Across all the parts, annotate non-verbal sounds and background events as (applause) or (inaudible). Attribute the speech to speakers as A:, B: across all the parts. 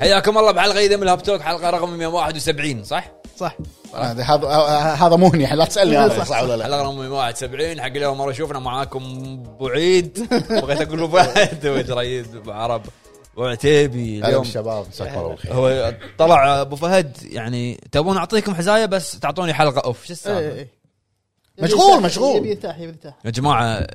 A: حياكم الله بحلقه جديده من الهاب توك حلقه رقم 171 صح؟
B: صح
C: هذا هذا هذا مهني الحين لا تسالني هذا صح ولا (laughs) لا
A: حلقه رقم 171 حق اللي أول مره شوفنا معاكم ابو عيد (laughs) بغيت اقول ابو عيد هو ترى عيد ابو عرب ابو عتيبي
C: هلا
A: اليوم
C: بالشباب مساك الله (laughs) بالخير
A: هو طلع ابو فهد يعني تبون اعطيكم حزايه بس تعطوني حلقه اوف شو
B: إيه،
A: السالفه؟
B: إيه.
C: مشغول،
B: يبي يرتاح،
C: مشغول.
B: يبي يرتاح يبي يرتاح
A: يا جماعه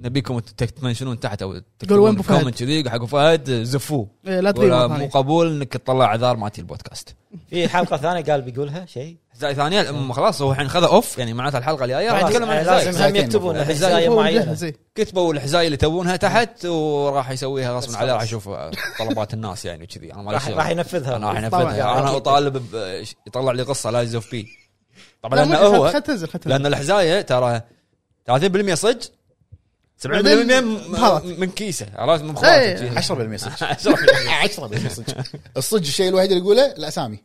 A: نبيكم تمنشنون تحت او
B: وين أبو فهد؟
A: كومنت كذي حق ابو فهد زفوه
B: إيه، لا
A: ولا مو
B: تغير
A: قبول انك تطلع اعذار مالتي البودكاست
D: في حلقه ثانيه قال بيقولها شيء
A: حزايه ثانيه الأم خلاص هو الحين خذ اوف يعني معناته الحلقه الجايه راح
D: خلاص،
A: نتكلم عن
D: آه،
A: حزايه
D: لازم هم
C: حزايتين
D: يكتبون
C: المفروض.
D: حزايه معينه
B: إيه.
A: كتبوا الحزايه اللي تبونها تحت وراح يسويها
D: نعم. بس
A: غصب عليه راح
D: خلاص.
A: يشوف طلبات الناس يعني وكذي انا ما لي
D: راح
A: شغل.
D: راح
A: انا راح
D: ينفذها
A: انفذها
B: طبعاً.
A: انا
D: أكيد.
A: اطالب ب- ش- يطلع لي قصه لا يزوف بي طبعا
B: لانه
A: لانه هو
B: خل تنزل خل تنزل
A: لان الحزايه ترى 30% صج 70% م-
B: بهارات.
A: من كيسه عرفت من
B: إيه.
A: مخواته
C: 10% (laughs) صدق
A: 10%
C: 10% صدق الصدق الشيء الوحيد اللي يقوله الاسامي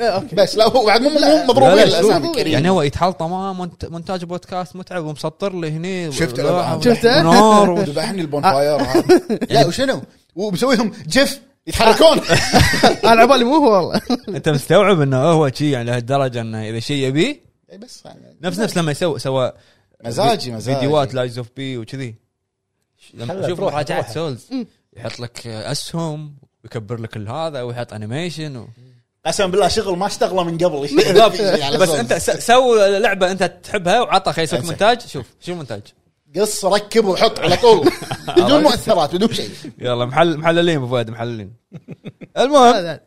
B: إيه، اوكي
C: بس لا هو بعد مو مو مضروبين
A: لا، لا،
C: الاسامي
B: شوف.
C: كريم
A: يعني هو يتحلطم آه، منت- مونتاج بودكاست متعب ومسطر لي هني
C: شفت
A: لا،
B: شفته؟
A: نار
D: (laughs)
A: و-
C: ذبحني البونفاير (laughs) هذا. لا وشنو؟ ومسوي لهم جف (laughs) يتحركون
B: انا على بالي مو هو
A: (laughs)
B: والله
A: انت مستوعب انه هو شيء يعني لهالدرجه انه اذا شيء يبيه
C: إي بس يعني
A: نفس نفس لما يسوي سوى
C: مزاجي مزاجي
A: فيديوهات لايز اوف بي وكذي
D: خلها
A: لما شوف
D: بروحها،
A: مراجعه
D: بروحها.
A: سولز يحط لك اسهم ويكبر لك هذا ويحط انيميشن (laughs) و...
C: قسما بالله شغل ما اشتغله من قبل (laughs) يعني
A: بس انت س- سو لعبه انت تحبها وعطى خي يسوي لك
C: أنسى.
A: مونتاج شوف شو المونتاج
C: قص ركب وحط على (laughs) طول بدون مؤثرات بدون شيء
A: يلا محل محللين ابو فهد محللين المهم
B: هذا.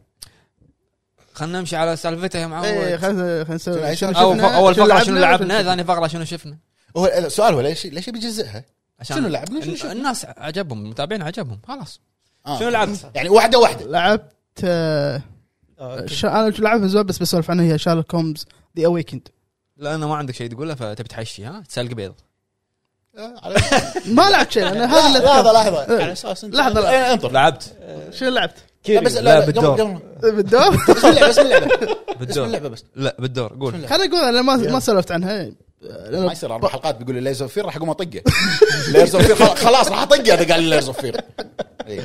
A: خلينا نمشي على سالفته يا
B: إيه،
A: معود
B: خل خل نسوي شنو
A: اول
B: شفنا،
A: اول فقره شنو لعبنا
B: وشنو-
A: ثاني فقره شنو شفنا
C: هو السؤال هو ليش ليش بيجزئها؟
A: عشان
C: شنو لعبنا؟ شنو
A: الن-
C: شفنا؟
A: الناس عجبهم المتابعين عجبهم خلاص
C: آه.
A: شنو لعبت؟
C: يعني واحده واحده
B: لعبت آه، ش- انا شو لعبت من زمان بس بسولف عنها هي شارلوك هومز ذا اويكند
A: لانه ما عندك شيء تقوله فتبي تحشي ها تسلق بيض
C: آه، على-
B: ما لعبت شيء انا هذا اللي
C: لحظه
B: أذكره.
C: لحظه
B: إيه.
C: على اساس انت-
B: لحظة، لحظة.
C: إيه، انطر
A: لعبت
B: شنو لعبت؟
C: لا، بس
A: لا،
C: لا لا
A: بالدور.
C: قبل قبل
B: بالدوم
C: بسم الله بسم الله بسم
A: بالدور
C: الله بس
A: لا بالدور قول
B: (laughs) خليني اقول انا ما ما سولفت عنها آه، لأنه
C: ما يصير اربع حلقات بيقول لي ليزوفير راح اقوم (laughs) اطقه ليزوفير خلاص- خلاص راح اطقه اذا قال لي ليزوفير إيه.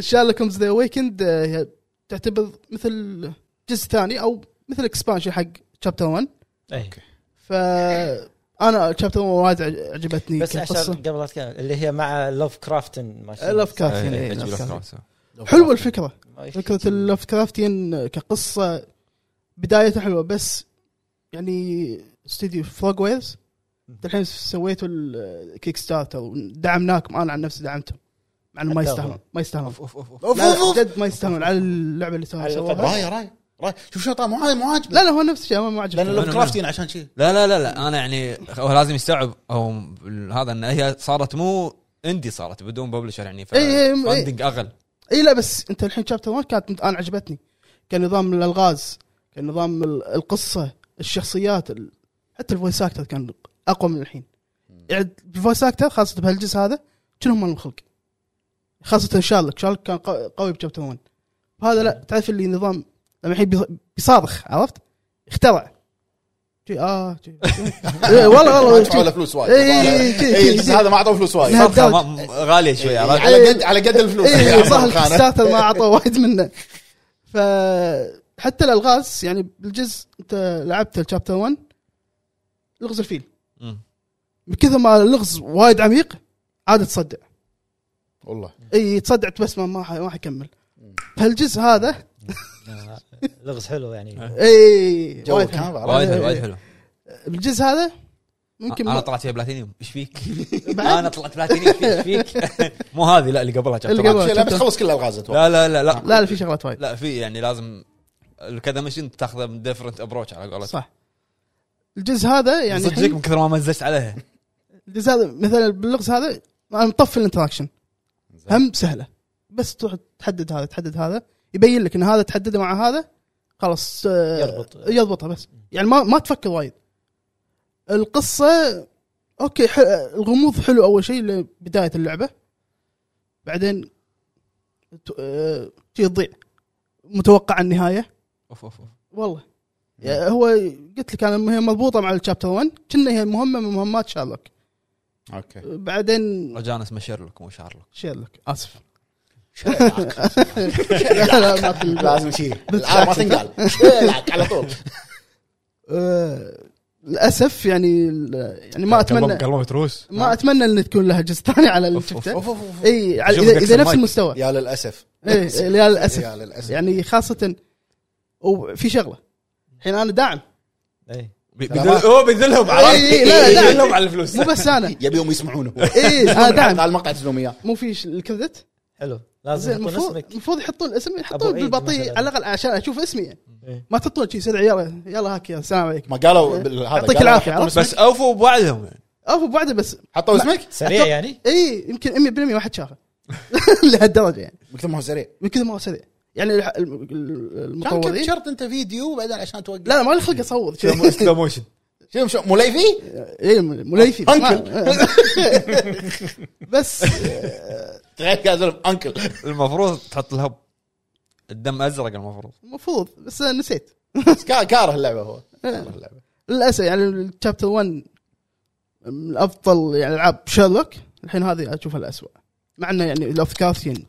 B: شارلوك هومز ذا ويكند آه، تعتبر مثل جزء ثاني او مثل اكسبانشن حق شابتر 1
D: إيه.
B: ف انا شابتر 1 وايد عج- عجبتني
D: بس عشان
B: كقصه
D: قبل لا تكمل اللي هي مع لوف كرافتن ما شاء الله.
B: لوف كرافتين
A: إيه،
B: إيه،
A: أجيب
B: لوف
A: لك
B: كرافتين.
A: راسه.
B: حلوه الفكره
D: ما يخ-
B: فكره اللوف كرافتين كقصه يعني بدايته حلوه بس يعني استوديو فروغ ويرز الحين سويتوا الكيك ستارتر ودعمناكم انا عن نفسي دعمتهم مع انه ما
D: حتى هو.
B: يستاهلون ما يستاهلون
A: اوف اوف اوف
C: اوف
B: لا،
C: اوف
B: لا،
C: اوف
B: جد ما يستاهلون على اللعبه اللي سووها
D: على
B: سووها.
D: القطع.
C: راي راي راي شوف شيطان مو عاجب- مو عاجب
B: لا لا هو نفس الشيء أنا ما عجبني
C: لان لوف
A: منو-
C: كرافتين عشان شيء
A: لا لا لا لا انا يعني هو لازم يستوعب او هذا ان هي صارت مو اندي صارت بدون ببلشر يعني ف
B: إي، إي، إي.
A: فاندنج اغل
B: اي لا بس انت الحين شابتر 1 كانت مت- انا عجبتني كان نظام الالغاز كان نظام ال- القصه الشخصيات ال... حتى الفويس اكتر كان اقوى من الحين يعني الفويس اكتر خاصه بهالجزء هذا كلهم مال الخلق خاصه شارلك شارلك كان قو- قوي بشابتر 1 هذا لا تعرف اللي نظام لما الحين بي- بيصارخ عرفت اخترع شي اه شي- إيه، والله
C: ما دفعوا
B: والله
C: له فلوس وايد
B: إي، إي، إي، كذي،
C: إي،
B: كذي.
C: بس هذا ما اعطوه فلوس وايد
B: لا.
A: صرخه ما- غاليه
B: إيه،
A: شوي عرفت
C: على قد على قد الفلوس
B: اي
C: يعني
B: صح
C: خانة.
B: الكستارتر إيه، ما اعطوا وايد منه فحتى الالغاز يعني بالجزء انت لعبت الشابتر 1 لغز الفيل
A: مم.
B: من كثر ما اللغز وايد عميق عاد تصدع
C: والله
B: اي تصدع بس ما ما ح- ما حيكمل بهالجزء هذا
D: آه، لغز حلو
B: آه.
D: يعني
B: اي
C: جو
B: إيه، وايد
C: كان
B: حلو.
C: بعرف.
A: وايد حلو وايد حلو
B: بالجزء هذا ممكن
A: انا
B: ما-
A: طلعت فيها بلاتينيوم ايش فيك؟ (laughs)
B: بعد؟
A: انا طلعت بلاتينيوم ايش فيك؟ (laughs) مو هذه لا اللي قبلها
B: اللي
A: chapter one.
B: قبلها.
C: شيء لا بتخلص كل الغاز اتوقع
A: لا لا لا لا
B: لا لا في شغلات وايد
A: لا في يعني لازم كذا مشين تاخذه من ديفرنت ابروتش على قولتك
B: صح الجزء هذا يعني
A: صدقك
B: الحين-
A: من كثر ما مززت عليها
B: الجزء هذا مثلا باللغز هذا انا مطفي الانتراكشن هم سهله بس تروح تحدد هذا تحدد هذا يبين لك ان هذا تحدده مع هذا خلاص آه،
D: يضبط.
B: يضبطها بس يعني ما ما تفكر وايد القصه اوكي ح... الغموض حلو اول شيء لبدايه اللعبه بعدين ت... آه، شي تضيع متوقع النهايه
A: اوف اوف أوف.
B: والله يعني هو قلت لك انا هي مربوطه مع الشابتر 1 كنا هي مهمه من مهمات شارلوك
C: اوكي
B: بعدين
A: رجانا اسمه شيرلوك مو شارلوك
B: شيرلوك اسف
C: شيلاك.
B: (laughs) لا لا ما تنقال.
C: لازم شيء العاب ما
B: (laughs)
C: تنقال شيلاك على طول
B: آه، للاسف يعني يعني ما اتمنى
A: قلبه متروس
B: ما اتمنى ان تكون لها جزء ثاني على اللي
A: أوف، أوف،
B: شفته
C: أوف، أوف، أوف.
B: اي على-
A: أشوفك
B: اذا إذا
A: أكثر
B: نفس
A: مايك.
B: المستوى
C: يا للاسف
B: إيه، إيه، يا للاسف
C: (laughs) يا للاسف
B: يعني خاصه وفي شغله الحين انا داعم
D: إيه.
A: بيذل- هو بيذلهم عرفت؟
B: إي، إي، لا، لا، لا.
A: بيذلهم على الفلوس
B: مو بس انا
C: يبي
B: (laughs)
C: يوم يسمعونه
B: اي انا داعم
C: (laughs) قال مقطع تسلم اياه
B: مو في ش- الكريدت
D: حلو
B: زين
D: لازم يحطون
B: المفروض
D: اسمك
B: المفروض يحطون الاسم
D: أبو
B: يحطون
D: عيد
B: بالبطيء
D: مثلاً.
B: على الاقل عشان اشوف اسمي يعني
D: إيه.
B: ما تحطون شيء يصير يلا يلا هاك يا السلام عليكم
C: ما قالوا بال- هذا
B: إيه. يعطيك
C: قالوا
B: العافية،
C: حطوا
B: عرفت؟
A: (laughs)
C: اسمك.
A: بس اوفوا بوعدهم يعني
B: اوف بعده بس
C: حطوا اسمك
D: سريع يعني
B: اي يمكن 100% واحد (laughs) شافه لهالدرجه يعني
C: مكتوب ما هو سريع
B: من كذا ما هو سريع يعني الح- الم-
C: كان
B: المطورين
C: كبشرت انت فيديو وبعدين عشان توقف
B: إيه. لا لا ما لي خلق اصور
A: سلو موشن
C: شوف شوف مليفي
B: اي مليفي بس إيه، ما- إيه. بس
C: (laughs) تخيل قاعد أقول انكل
A: المفروض تحط الهب الدم ازرق المفروض
B: المفروض بس نسيت
C: بس كا- كاره اللعبه هو كاره اللعبه
B: للاسف يعني الشابتر 1 من افضل يعني العاب شيرلوك الحين هذه اشوفها الاسوء مع انه يعني لافكارتيان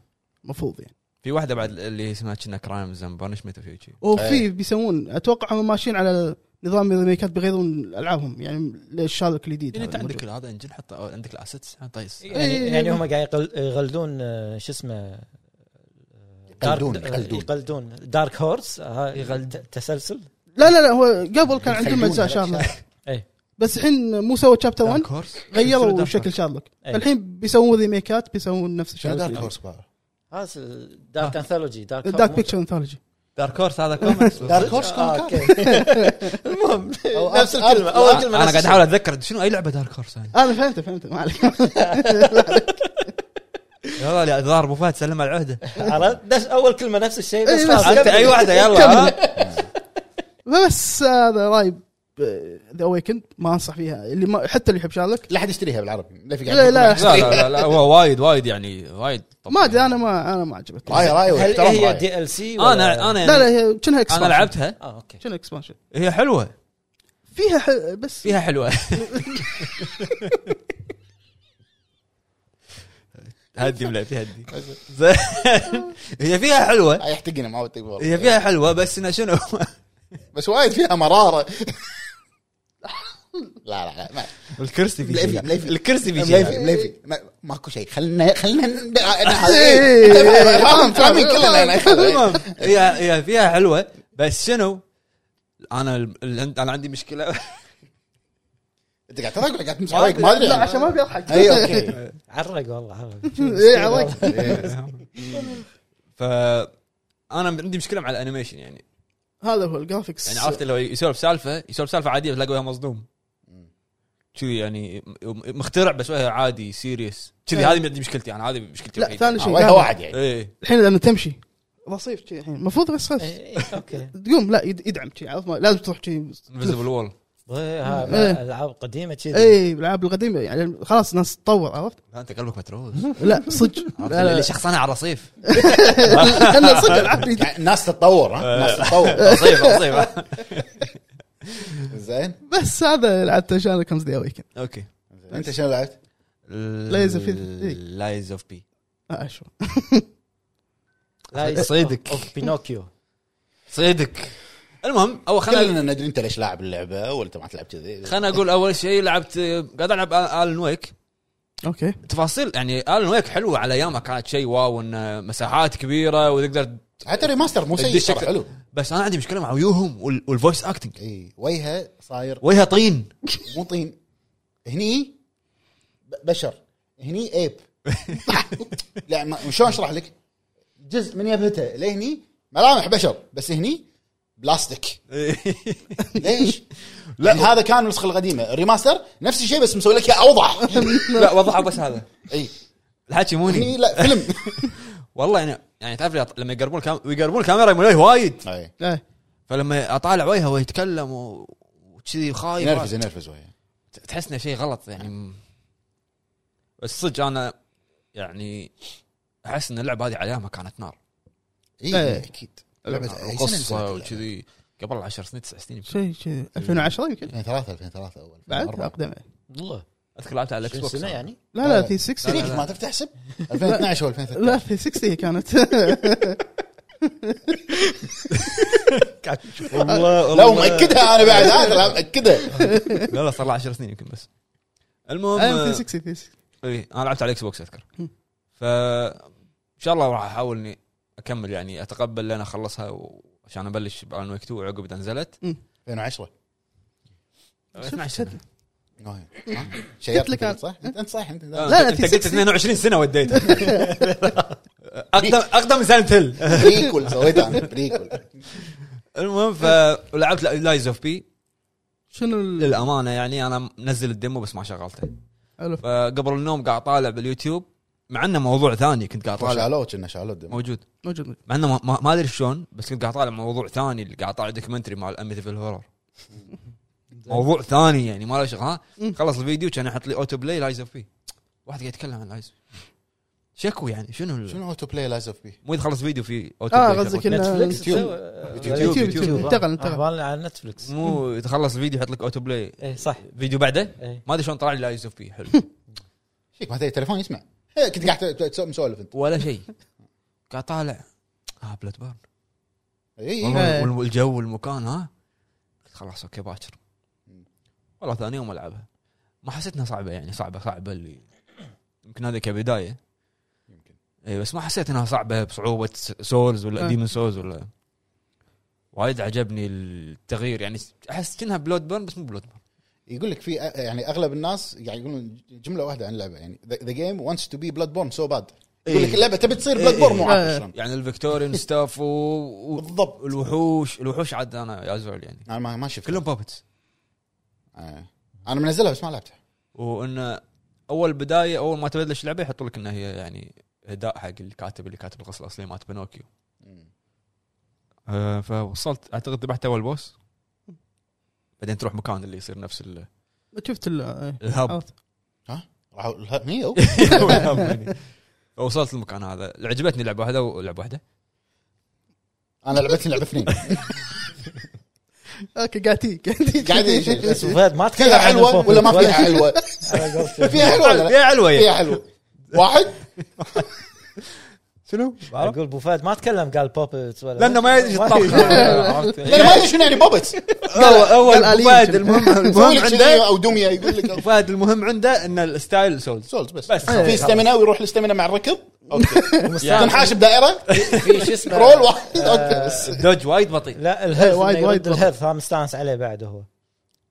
B: المفروض يعني
A: في واحده بعد اللي اسمها كنا كرايمز اند بانشمنت في شيء
B: وفي بيسوون اتوقع هم ماشيين على نظام الريميكات بيغيرون العابهم يعني للشارلوك الجديد
A: يعني انت
B: هذا
A: عندك
B: الموجود.
A: هذا انجن حط عندك آه، طيب. الاسيتس طايس
D: يعني,
B: إيه.
D: يعني هم قاعد يقل- يغلدون آه، شو اسمه دارك-
C: يقلدون-
D: آه،
C: يقلدون.
D: يقلدون دارك هورس آه،
B: إيه.
D: ت- تسلسل
B: لا لا لا هو قبل كان عندهم
C: يخلون
B: اجزاء
C: هذا (laughs)
B: شارلوك
D: إيه.
B: بس الحين مو سووا شابتر 1
A: هورس
B: غيروا شكل شارلوك
D: أي.
B: الحين بيسوون ريميكات بيسوون نفس
C: شنو دارك
B: الشيء
C: هورس بار
D: هذا
B: آه.
D: دارك انثولوجي دارك
B: دارك بيكتشر انثولوجي
A: دارك هورس هذا كوميكس
C: دارك هورس
D: آه،
C: كان (laughs)
D: أوكي. المهم
C: أو
D: نفس
C: أب-
D: الكلمه
C: أب-
D: اول كلمه
A: انا
D: نفس
A: قاعد
D: الشيء.
A: احاول اتذكر شنو اي لعبه دارك هورس يعني
B: انا فهمت فهمت ما عليك (laughs)
A: والله الظاهر ابو فهد سلم على العهده
D: عرفت نفس اول كلمه نفس الشيء بس
B: إيه،
D: خلاص
B: بس.
A: انت
D: كمل.
A: اي واحده يلا ها؟
B: بس هذا رايب ذا اويكند ما انصح فيها اللي ما حتى اللي يحب شارلوك
C: لا احد يشتريها بالعربي لا في
B: لا، لا.
A: لا لا لا، لا هو وايد وايد يعني وايد
B: ما ادري انا ما انا ما عجبتني
C: راي راي
D: هل
C: واحترام
D: هي
C: راي
D: دي ال سي
A: انا انا
B: لا لا
A: يعني
B: هي كأنها اكسبانشن
A: انا لعبتها
D: اه اوكي
B: كأنها اكسبانشن
A: هي حلوه
B: فيها ح... بس فيها
A: فيها حلوه هدي ولا تهدي زين. هي فيها حلوه
C: هاي يحتقنا ما هو يطيق والله.
A: هي فيها حلوه بس انها شنو
C: بس وايد فيها مراره (laughs) لا لا لا ما-
A: الكرسي في
C: مليفي- مليفي.
A: الكرسي في
C: مليفي
A: شيء
C: مليفي ما- ماكو شيء خلنا خلنا ن- أنا-
B: إيه.
C: فاهم فاهمين كلنا
A: (laughs)
C: أنا. إيه.
A: المهم هي هي فيها حلوه بس شنو انا ال- ال- انا عندي مشكله
C: انت قاعد تضحك ولا قاعد تمسح عليك ما يعني. ادري
B: لا عشان ما إيه، بيضحك (laughs)
C: اي اوكي
D: عرق والله عرق
B: اي عرفت
A: ف انا عندي مشكله مع الانيميشن يعني
B: هذا هو الجرافكس
A: يعني عرفت لو يسولف سالفه يسولف سالفه عاديه بتلاقي وجهه مصدوم كذي يعني م- مخترع بس وجهه عادي سيريس كذي
B: إيه.
A: هذه عندي مشكلتي انا هذه مشكلتي
B: لا،
A: الوحيدة.
B: ثاني شيء.
C: وجهه واحد يعني
A: ايه
B: الحين لما تمشي رصيف شي الحين المفروض بس خلف
D: إيه، اوكي
B: تقوم لا يد- يدعم شي عرفت ما- لازم تروح شي
A: انفيزبل وول
D: إيه، ها،
B: إيه.
D: العاب قديمه كذي
B: اي الالعاب القديمه إيه، يعني خلاص الناس تطور عرفت
A: لا انت قلبك متروس
B: (laughs) لا صدق
A: عرفت
B: لا لا
A: اللي شخص انا على
B: (laughs)
A: رصيف
B: انا صدق العاب
C: (laughs)
B: جديدة.
C: يعني الناس تتطور ها الناس تتطور
A: رصيف رصيف
C: زين
B: بس هذا لعبته شارلوك كمز ذا ويكند
A: اوكي
C: انت شنو لعبت؟
B: Lies of-
A: لايز اوف بي
B: اشوف
D: لا يس-
A: صيدك.
D: أوف بينوكيو
A: صيدك المهم اول خلينا
C: كلنا ندري انت ليش لاعب اللعبه وانت ما تلعب كذي
A: خلينا اقول اول شيء لعبت قاعد العب الن ويك
B: اوكي
A: تفاصيل يعني الن ويك حلوه على ايامها كانت شيء واو ان مساحات كبيره وتقدر
C: حتى ريماستر مو سيء
A: الدش
C: ترى
A: شكل-
C: حلو
A: بس انا عندي مشكله مع ويوهم وال- والفويس اكتنج
C: اي وجهه صاير
A: وجهها طين
C: مو طين هني ب- بشر هني (laughs) ايب لا ما- شلون اشرح لك؟ جزء من يبهته لهني ملامح بشر بس هني بلاستيك ليش؟ (laughs) لا هذا كان النسخه القديمه الريماستر نفس الشيء بس مسوي لك إياه (laughs) اوضح
A: لا وضعها بس هذا
C: اي
A: الحكي مو
C: هني
A: هني
C: لا (laughs) فيلم
A: والله يعني يعني تعرف لي- لما يقربون الكاميرا يقربون الكاميرا يمون عليه وايد
C: اي
B: إيه.
A: فلما اطالع وجهه ويتكلم و- وكذي خايف
C: ينرفز ينرفز وياه
A: تحس انه شيء غلط يعني م- بس صدق انا يعني احس ان اللعبه هذه على ايامها كانت نار
B: إيه.
C: اي اكيد لعبة أي سنة
A: قصه
C: نزلت اللعبة؟
A: وكذي قبل 10 سنين 9 سنين
B: شيء شيء 2010 يمكن
C: 2003 2003 اول
B: بعد
C: 2004.
B: اقدم
D: والله
A: اذكر لعبتها على الاكس بوكس
D: سنه يعني
B: لا لا 360
C: سنيك ما تفتح حسب 2012 ولا 2013
B: لا 360 هي كانت
A: والله
C: لا ومأكدها انا بعد هذا لا (laughs) مأكدها
A: لا لا صار له 10 سنين يمكن بس المهم
B: أيام 360 360
A: اي انا إيه، لعبت على الاكس بوكس اذكر
B: هم.
A: ف ان شاء الله راح احاول اني اكمل يعني اتقبل لين اخلصها و- عشان ابلش بالان ويك 2 عقب اذا نزلت
C: 2010
A: 12 سنه
C: آه. شيرت
B: قلت لك أنا.
C: صح؟ أنت- انت صح انت
A: آه،
B: لا،
A: انت قلت
B: 360.
A: 22 سنه وديتها
B: (laughs)
A: اقدم اقدم من سنه هيل
C: بريكول سويتها انا بريكول
A: المهم ف ولعبت لايز اوف بي
B: شنو ال-
A: للامانه يعني انا منزل الديمو بس ما شغلته
B: حلو.
A: فقبل النوم قاعد طالع باليوتيوب مع انه موضوع ثاني كنت قاعد طالع
C: شالوه كنا شالوه الدم.
A: موجود
B: موجود موجود.
A: مع انه ما- ما, ما ادري شلون بس كنت قاعد طالع موضوع ثاني اللي قاعد طالع دوكيومنتري مال اميتيفل هورر
B: (laughs)
A: موضوع ثاني يعني ما له شغل ها
B: مم.
A: خلص الفيديو كان يحط لي اوتو بلاي لايز اوف بي واحد قاعد يتكلم عن لايز شكو يعني شنو ال-
C: شنو اوتو بلاي لايز اوف بي؟
A: مو اذا خلص فيديو في اوتو
B: اه
A: بلاي
B: قصدك إنه-
D: نتفلكس
C: يوتيوب.
D: تسوي- آه،
A: يوتيوب،
D: يوتيوب،
A: يوتيوب.
D: يوتيوب،
B: انتقل،
D: آه،
B: انتقل.
D: بالنا على نتفلكس
A: مو اذا خلص الفيديو يحط لك اوتو بلاي
D: اي صح
A: فيديو بعده
D: إيه.
A: ما ادري شلون طلع لي لايز اوف بي
B: (laughs)
A: حلو
C: شيك ما تدري تليفون يسمع إيه، كنت قاعد ت- ت- مسولف انت
A: ولا شيء قاعد طالع اه بلاد بارن
C: اي إي.
A: والله وال- والجو والمكان ها قلت خلاص اوكي باكر والله ثاني يوم العبها ما حسيت انها صعبه يعني صعبه صعبه اللي يمكن هذه كبدايه
C: يمكن.
A: اي بس ما حسيت انها صعبه بصعوبه سولز ولا
B: أه.
A: ديمون سولز ولا وايد عجبني التغيير يعني احس كأنها بلود بيرن بس مو بلود بيرن
C: يقول لك في أ- يعني اغلب الناس يعني يقولون جمله واحده عن اللعبه يعني ذا جيم وانتس تو بي بلاد بورن سو باد يقول لك (laughs) اللعبه تبي تصير بلاد بورن مو عارف
B: إيه.
C: شلون
A: يعني الفيكتوريان ستاف و... و...
C: بالضبط
A: والوحوش الوحوش عاد انا ازول يعني
C: انا ما ما شفت
A: كلهم بابتس
C: آه. انا منزلها بس ما لعبتها
A: وانه اول بدايه اول ما تبلش اللعبه يحطوا لك انها هي يعني هداء حق الكاتب اللي كاتب القصه الاصليه مالت بنوكيو آه فوصلت اعتقد ذبحت اول بوس بعدين تروح مكان اللي يصير نفس ال-
B: شفت ال إيه.
A: (laughs) الهب
B: عرفت.
C: راحوا الها-
A: (laughs)
C: هي هو.
A: الهب يعني. فوصلت المكان هذا عجبتني لعبه واحده ولعبه واحده
C: انا لعبتني لعبه اثنين
B: اوكي قاعد تي
C: قاعد يجي.
D: بس فهد ما تتكلم
C: فيها
D: عن
C: حلوه
D: الفوكس
C: ولا ما
D: (laughs)
C: فيها
D: شيء.
C: حلوه؟
D: على قولتك.
C: (laughs) فيها حلوه ولا لا؟
A: يا علوه
C: فيها
A: يا.
C: حلوه واحد
A: شنو؟
D: اقول ابو فهد ما تكلم قال بوبتس ولا
A: لانه ما يدري شو
D: ما- (laughs)
A: (laughs) الطبخ عرفت؟
C: لأن ما ادري شنو يعني بوبتس
A: هو هو
B: قال
A: أبو
B: آلية
A: فهد
B: شنو.
A: المهم
C: يسوي
A: المهم
C: لك
A: عنده
C: شنية او دميه يقول
A: أبو
C: (laughs) لك
A: فهد المهم عنده ان الستايل سولز
C: سولز بس
A: بس. نعم.
C: في استمنه ويروح الاستمنه مع الركض اوكي
A: يعني
D: مستعمل.
C: تنحاش بدائره
D: في شو اسمه
C: رول واحد اوكي بس
A: الدوج وايد بطيء
D: لا الهيلث
B: وايد-
D: وايد
B: وايد
D: وايد الهيلث ها مستانس عليه بعد هو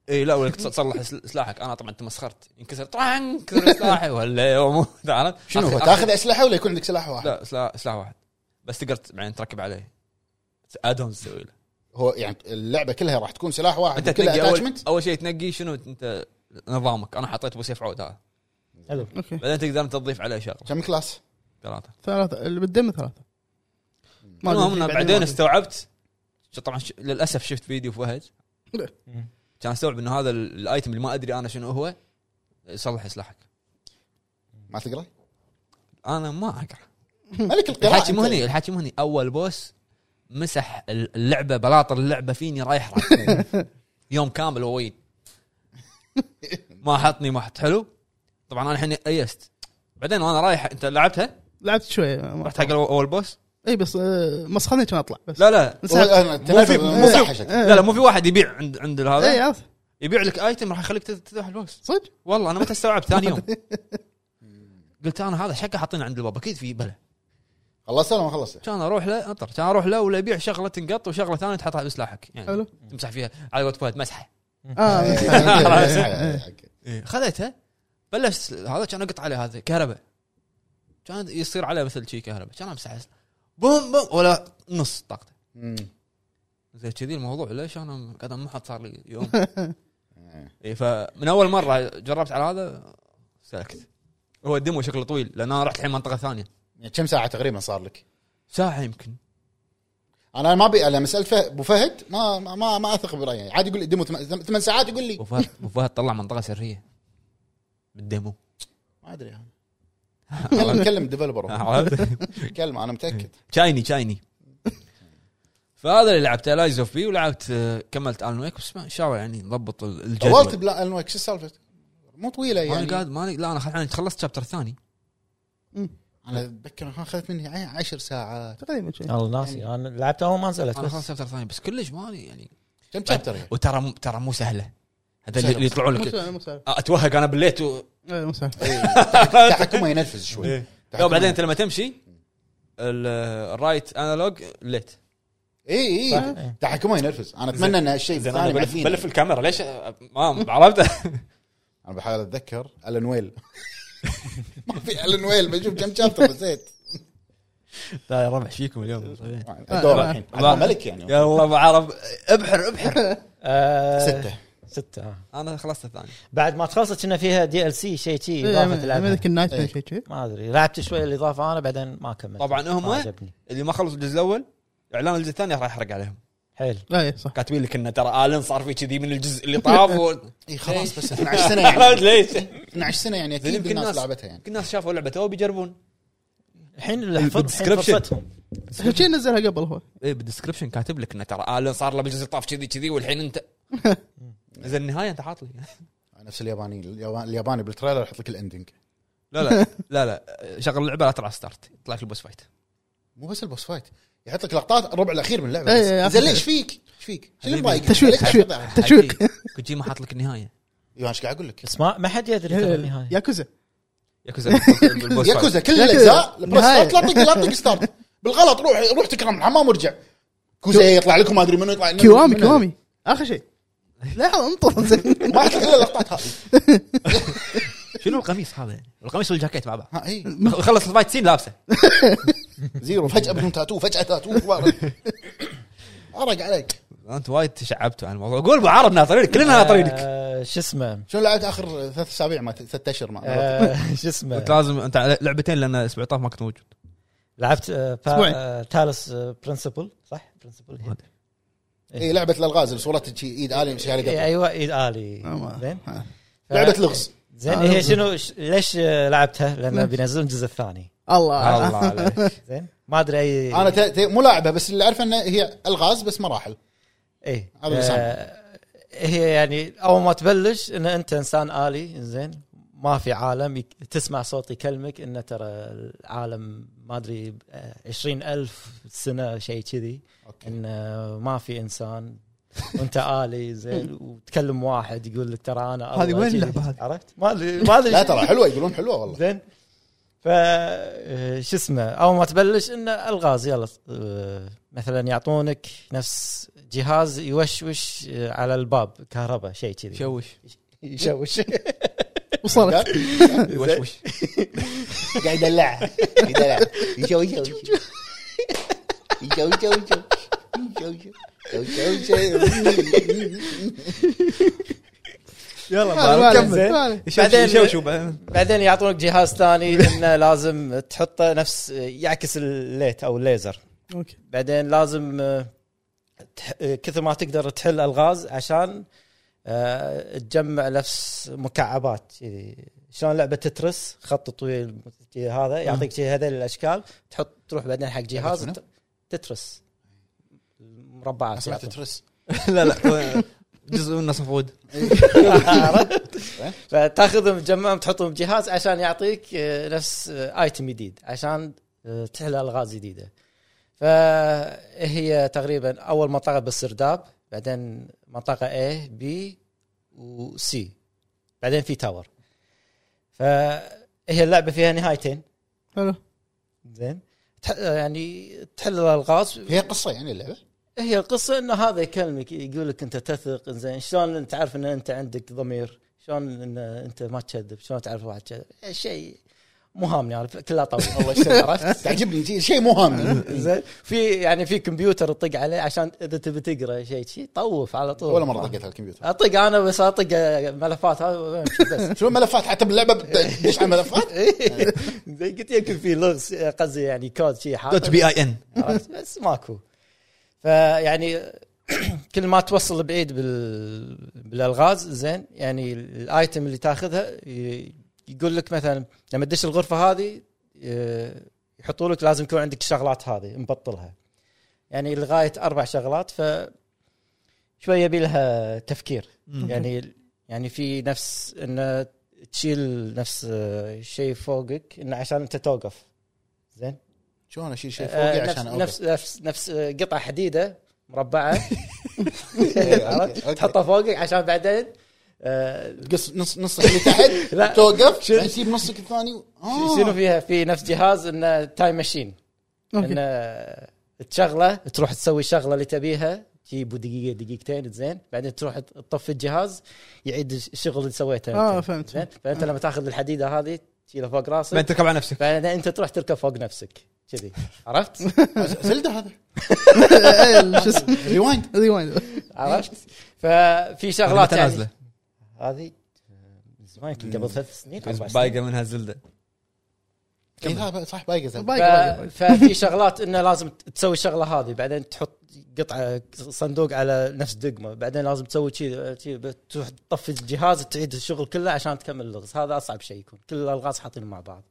A: اي إيه، لا ولك تصلح سل- سلاحك انا طبعا تمسخرت ينكسر طعن كسر سلاحي ولا يوم (laughs)
B: (laughs)
A: تعرف
C: شنو هو
A: أخذ-
C: تاخذ اسلحه ولا يكون عندك سلاح
A: أخذ-
C: واحد؟
A: لا سلاح سلاح واحد بس تقدر ت- بعدين تركب عليه ادون تسوي له
C: هو يعني اللعبه كلها راح تكون سلاح واحد
A: انت
C: كلها
A: تنقي اول,
C: اتاتشمنت
A: أول شيء تنقي شنو انت نظامك انا حطيت ابو سيف عود هذا
D: حلو
B: اوكي
A: بعدين تقدر انت تضيف عليه شغله
C: كم كلاس؟
A: ثلاثه
B: ثلاثة اللي بالدم ثلاثة ما أدري
A: المهم إنه
B: بعدين
A: بعدين
B: ما أدري.
A: استوعبت ش- طبعا ش... للاسف شفت فيديو فهد كان استوعب انه هذا ال- الايتم اللي ما ادري انا شنو هو يصلح سلاحك
C: ما تقرا؟
A: انا ما اقرا
C: ملك القراءه
A: الحاكي
C: أنت.
A: مو هني الحاكي مو هني اول بوس مسح اللعبه بلاطر اللعبه فيني رايح رايح يوم كامل هو وين ما حطني ما حط حلو طبعا انا الحين ايست بعدين وانا رايح انت لعبتها
B: لعبت شوي ما
A: رحت حق الأو- اول بوس
B: اي بس آه، مسخني كان اطلع بس
A: لا
B: إيه.
A: لا
C: هو- أنا تنافس-
A: مو
C: مو
A: في-
C: صح
A: لا لا مو في واحد يبيع عند عند
B: اي
A: هذا
B: عرفت
A: يبيع لك ايتم راح يخليك تذ- تذبح البوس
B: إيه، صدق
A: والله انا متى استوعبت ثاني يوم قلت انا هذا شكله حاطينه عند الباب اكيد في بلا
C: خلصت ولا ما خلصت؟
A: كان اروح له انطر كان اروح له ولا يبيع شغله تنقط وشغله ثانيه تحطها بسلاحك يعني
B: حلو.
A: تمسح فيها على قولة فهد مسحه
B: اه
A: (laughs) خذيتها بلشت هذا كان اقط عليه هذا كهرباء كان يصير عليه مثل شي كهرباء كان امسح بوم بوم ولا نص طاقته زي كذي الموضوع ليش انا قاعد انمحط صار لي يوم إيه، اي فمن اول مره جربت على هذا سلكت هو الدمو شكله طويل لان انا رحت الحين منطقه ثانيه
C: كم ساعه تقريبا صار لك؟
A: ساعه يمكن
C: انا ما ابي لما سالت ابو فهد ما ما- ما ما اثق برايه عادي يقول لي ديمو ثم- ثمان ساعات يقول لي
A: أبو فهد أبو فهد طلع منطقه سريه بالديمو
C: ما ادري
A: (laughs)
C: أنا. انا مكلم ديفلوبر
A: عرفت؟
C: مكلم انا متاكد
A: (laughs) تشايني تشايني فهذا اللي لعبته لايز اوف بي ولعبت آه، كملت الون ويك بس ما- ان شاء الله يعني نضبط ال- الجدول
C: طولت بلا الون ويك شو السالفه؟ مو طويله يعني
A: انا قاعد ماني لا انا خل- أنا خلصت شابتر ثاني
C: انا اتذكر إنها اخذت مني ع- عشر ساعات
B: (laughs) تقريبا شيء
D: والله ناسي انا لعبت اول يعني ما نزلت
A: انا خلصت
D: بس
A: شابتر ثاني بس كلش ماني يعني
C: كم شابتر يعني؟
A: وترى مو- ترى مو سهله هذا
C: سهلة.
A: اللي اللي يطلعوا
B: مو
A: لك
B: سهل مو سهل
A: آه، اتوهق انا بالليت و...
B: إيه، مو سهل
C: تحكمه ينرفز شوي
A: لا إيه. بعدين انت لما تمشي ال- آه، الرايت انالوج ليت
C: اي
D: صح،
C: اي
D: إيه.
C: تحكمه ينرفز انا اتمنى ان هالشيء
A: زين انا
C: الثاني
A: بلف,
C: معديني.
A: بلف الكاميرا ليش ما (laughs) عرفت
C: انا بحاول اتذكر الن ويل (laughs) ما في الن ويل بشوف كم شابتر نسيت
A: لا يا ربع فيكم اليوم آه.
C: الدور الحين عبد الملك يعني
A: يلا ابو عرب ابحر ابحر
D: آه،
C: سته
D: سته آه.
A: انا خلصت الثاني
D: بعد ما تخلصت كنا فيها دي ال سي شيء
B: إيه،
D: شي اضافه تلعبها
B: امريكان نايت
C: إيه.
B: شيء شيء
D: ما ادري لعبت شوي الاضافه انا بعدين ما كملت
A: طبعاً هم-
D: ما عجبني
A: اللي ما خلصوا الجزء الاول اعلان الجزء الثاني راح يحرق عليهم
D: حيل
B: اي إيه، صح
A: كاتبين لك انه ترى الن صار في كذي من الجزء اللي طاف (laughs) و...
C: اي إيه، خلاص بس
A: (laughs)
C: 12 سنه يعني
A: ليش؟
C: 12 سنه يعني
A: إيه. زين
C: اكيد
A: يمكن
C: الناس
A: الناس-
C: لعبتها يعني
A: يمكن الناس شافوا اللعبه تو بيجربون
D: الحين اللي حفظ- الحين
A: بالدسكربشن.
D: فرصتهم
B: شيء نزلها قبل هو
A: ايه بالدسكربشن كاتب لك انه ترى الن صار له بالجزء طاف كذي كذي والحين (laughs) انت اذا النهايه انت عاطلي
C: نفس اليابانيين اليابان- الياباني بالتريلر يحط لك الاندنج
A: لا لا لا لا شغل اللعبه لا تلعب ستارت يطلع لك البوس فايت
C: مو بس البوس فايت يحط لك لقطات الربع الاخير من اللعبه
B: إي،
C: بس.
B: إي،
C: زين
B: أخذ-
C: ليش فيك؟ ايش فيك؟ شنو
A: حبيبي.
C: مضايق؟
B: إيه، تشويق،
C: ليش
B: تشويق.
C: قاعد تحط-
B: تشويق.
A: كوجيما حاط لك النهايه
C: يو، أنا ايش قاعد اقول لك؟
D: بس ما ما حد يدري
B: إيه،
D: ترى النهايه
B: ياكوزا
A: ياكوزا بالبوس فايت.
C: ياكوزا كل
B: ياكوزا.
C: الاجزاء البوس
B: نهاية.
C: فايت لا تطق لا تطق ستارت بالغلط روح روح تكرم الحمام وارجع كوزا يطلع لكم ما ادري منو يطلع
B: كيوامي
C: منو-
B: كيوامي اخر شيء لحظه انطر (laughs) زين
C: ما احط الا اللقطات هذه
A: شنو القميص هذا يعني؟ القميص والجاكيت (laughs) مع بعض
C: ها اي
A: خلص الفايت سين لابسه
C: زيرو فجاه بدون تاتو فجاه تاتو وارد. عرق عليك
A: انت وايد تشعبتوا عن الموضوع قول ابو عرب ناطرينك كلنا ناطرينك
D: آه، شو اسمه
C: شنو لعبت اخر ثلاث اسابيع ما ست اشهر ما
D: آه، شو
A: انت
D: اسمه
A: لازم انت على لعبتين لان اسبوع طاف ما كنت موجود
D: لعبت آه، با-
B: أسبوعين.
D: آه، تالس برنسبل صح برنسبل
C: اي لعبه الالغاز اللي صورتها شي ايد الي مش قبل
D: ايوه ايد الي زين ف-
C: لعبه لغز
D: زين
B: آه،
D: هي
B: لغز.
D: شنو ش- ليش آه، لعبتها؟ لان
B: ليش؟
D: بينزلون الجزء الثاني آه.
A: الله
D: (laughs)
B: الله
A: عليك
D: زين ما ادري اي
C: انا ت- ت- مو لاعبها بس اللي اعرفه انها هي الغاز بس مراحل
D: اي
C: هذا اللي صار.
D: إيه. آه، هي يعني اول ما تبلش ان انت انسان الي زين ما في عالم يك- تسمع صوت يكلمك انه ترى العالم ما ادري آه، عشرين ألف سنه شيء كذي
C: اوكي
D: انه ما في (laughs) انسان وانت الي زين وتكلم واحد يقول لك ترى انا الله
A: هذه وين
D: كذي.
A: اللعبة هذه؟
D: عرفت؟ ما ادري ما ادري
C: لا ترى حلوه يقولون حلوه والله
D: زين ف آه، شو اسمه اول ما تبلش انه الغاز يلا آه، مثلا يعطونك نفس جهاز يوشوش آه، على الباب كهرباء شيء كذي
A: (laughs) شوش
C: (laughs)
D: يشوش
B: وصلت
A: وشوش
C: قاعد يدلع يدلع يشو يشو يشو يشو يشو يشو يشو يشو
D: (laughs) يلا
B: ما عليك،
D: كمل.
B: ما عليك.
D: بعدين-
A: شوش
D: (laughs)
A: بعدين
D: بعدين يعطونك جهاز ثاني انه لازم تحطه نفس آه، يعكس الليت او الليزر
B: اوكي
D: بعدين لازم آه، تح- آه، كثر ما تقدر تحل الغاز عشان آه، تجمع نفس مكعبات كذي شلون لعبه تترس خط طويل كذي هذا يعطيك شي هذول الاشكال تحط تروح بعدين حق جهاز
C: شنو؟
D: ت- تترس المربعات
C: سمعت
D: يعطوك.
C: ترس
A: (laughs) لا لا جزء منه صفود
D: عرفت؟ فتاخذهم تجمعهم تحطهم بجهاز عشان يعطيك آه، نفس آه، ايتم جديد عشان آه، تحل الغاز جديده فهي تقريبا اول منطقه بالسرداب بعدين منطقه A B وسي بعدين في تاور فهي اللعبه فيها نهايتين
B: حلو
D: زين تح- يعني تحل الالغاز
C: هي قصه يعني اللعبه
D: إيه، هي القصه انه هذا يكلمك يقول لك انت تثق زين شلون انت عارف ان انت عندك ضمير شلون ان انت ما تكذب شلون تعرف واحد كذب شيء مو هامني انا كلها طويل
C: (laughs) الله يستر عرفت تعجبني شي- شيء مو هامي
D: زين في يعني في كمبيوتر تطق عليه عشان اذا تبي تقرا شيء شيء طوف على طول
C: ولا مره طقيت على الكمبيوتر
D: اطق انا بس اطق ملفات هذا وأمشي
C: (laughs)
D: بس (laughs)
C: شو الملفات حتى باللعبه بتدش على الملفات
D: زين قلت يمكن في لغز قصدي يعني كود شيء حاط
A: دوت بي اي ان
D: عرفت (laughs) بس ماكو فيعني (clears throat) كل ما توصل بعيد بال... بالالغاز زين يعني الايتم اللي تاخذها ي- يقول لك مثلا لما تدش الغرفه هذه ي- يحطوا لك لازم يكون عندك الشغلات هذه مبطلها يعني لغايه اربع شغلات ف شويه يبي لها تفكير يعني يعني في نفس انه تشيل نفس آه، شيء فوقك انه عشان انت توقف زين
C: شلون اشيل شيء
D: آه،
C: فوقي
D: نفس
C: عشان
D: نفس نفس نفس آه، قطعه حديده
C: (laughs)
D: مربعه إيه، عرفت؟
C: أوكي.
D: تحطها فوقك عشان بعدين آه،
C: تقص نص نصك اللي تحت
D: (laughs) لا.
C: توقف بعدين تجيب نصك الثاني و- آه.
D: شنو فيها في نفس جهاز انه تايم ماشين
B: اوكي
D: انه تشغله تروح تسوي الشغله اللي تبيها تجيبه دقيقه دقيقتين زين بعدين تروح تطفي الجهاز يعيد الشغل اللي سويته
C: آه،
B: اه
D: أنت.
B: فهمت
D: زين فانت لما تاخذ الحديده هذه تشيلها فوق
A: بعدين
D: راسك
A: تركب على نفسك
D: بعدين انت تروح تركب فوق نفسك كذي عرفت؟
C: (laughs) زلده هذا
B: (laughs)
D: (laughs)
C: أيوة.
B: إيه، شو اسمه
C: ريوايند
B: ريوايند
A: طيب.
D: عرفت؟ ففي شغلات يعني
A: نازله
D: هذه من زمان يمكن قبل ثلاث سنين
A: بس
D: أربع سنين.
A: بايقه منها الزلده
C: إيه، لا، صح بايقه زلده
D: ف- ففي شغلات انه لازم تسوي الشغله هذه بعدين تحط قطعه صندوق على نفس دقمه بعدين لازم تسوي شيء تروح تطفي الجهاز تعيد الشغل كله عشان تكمل اللغز هذا اصعب شيء يكون كل الالغاز حاطين مع بعض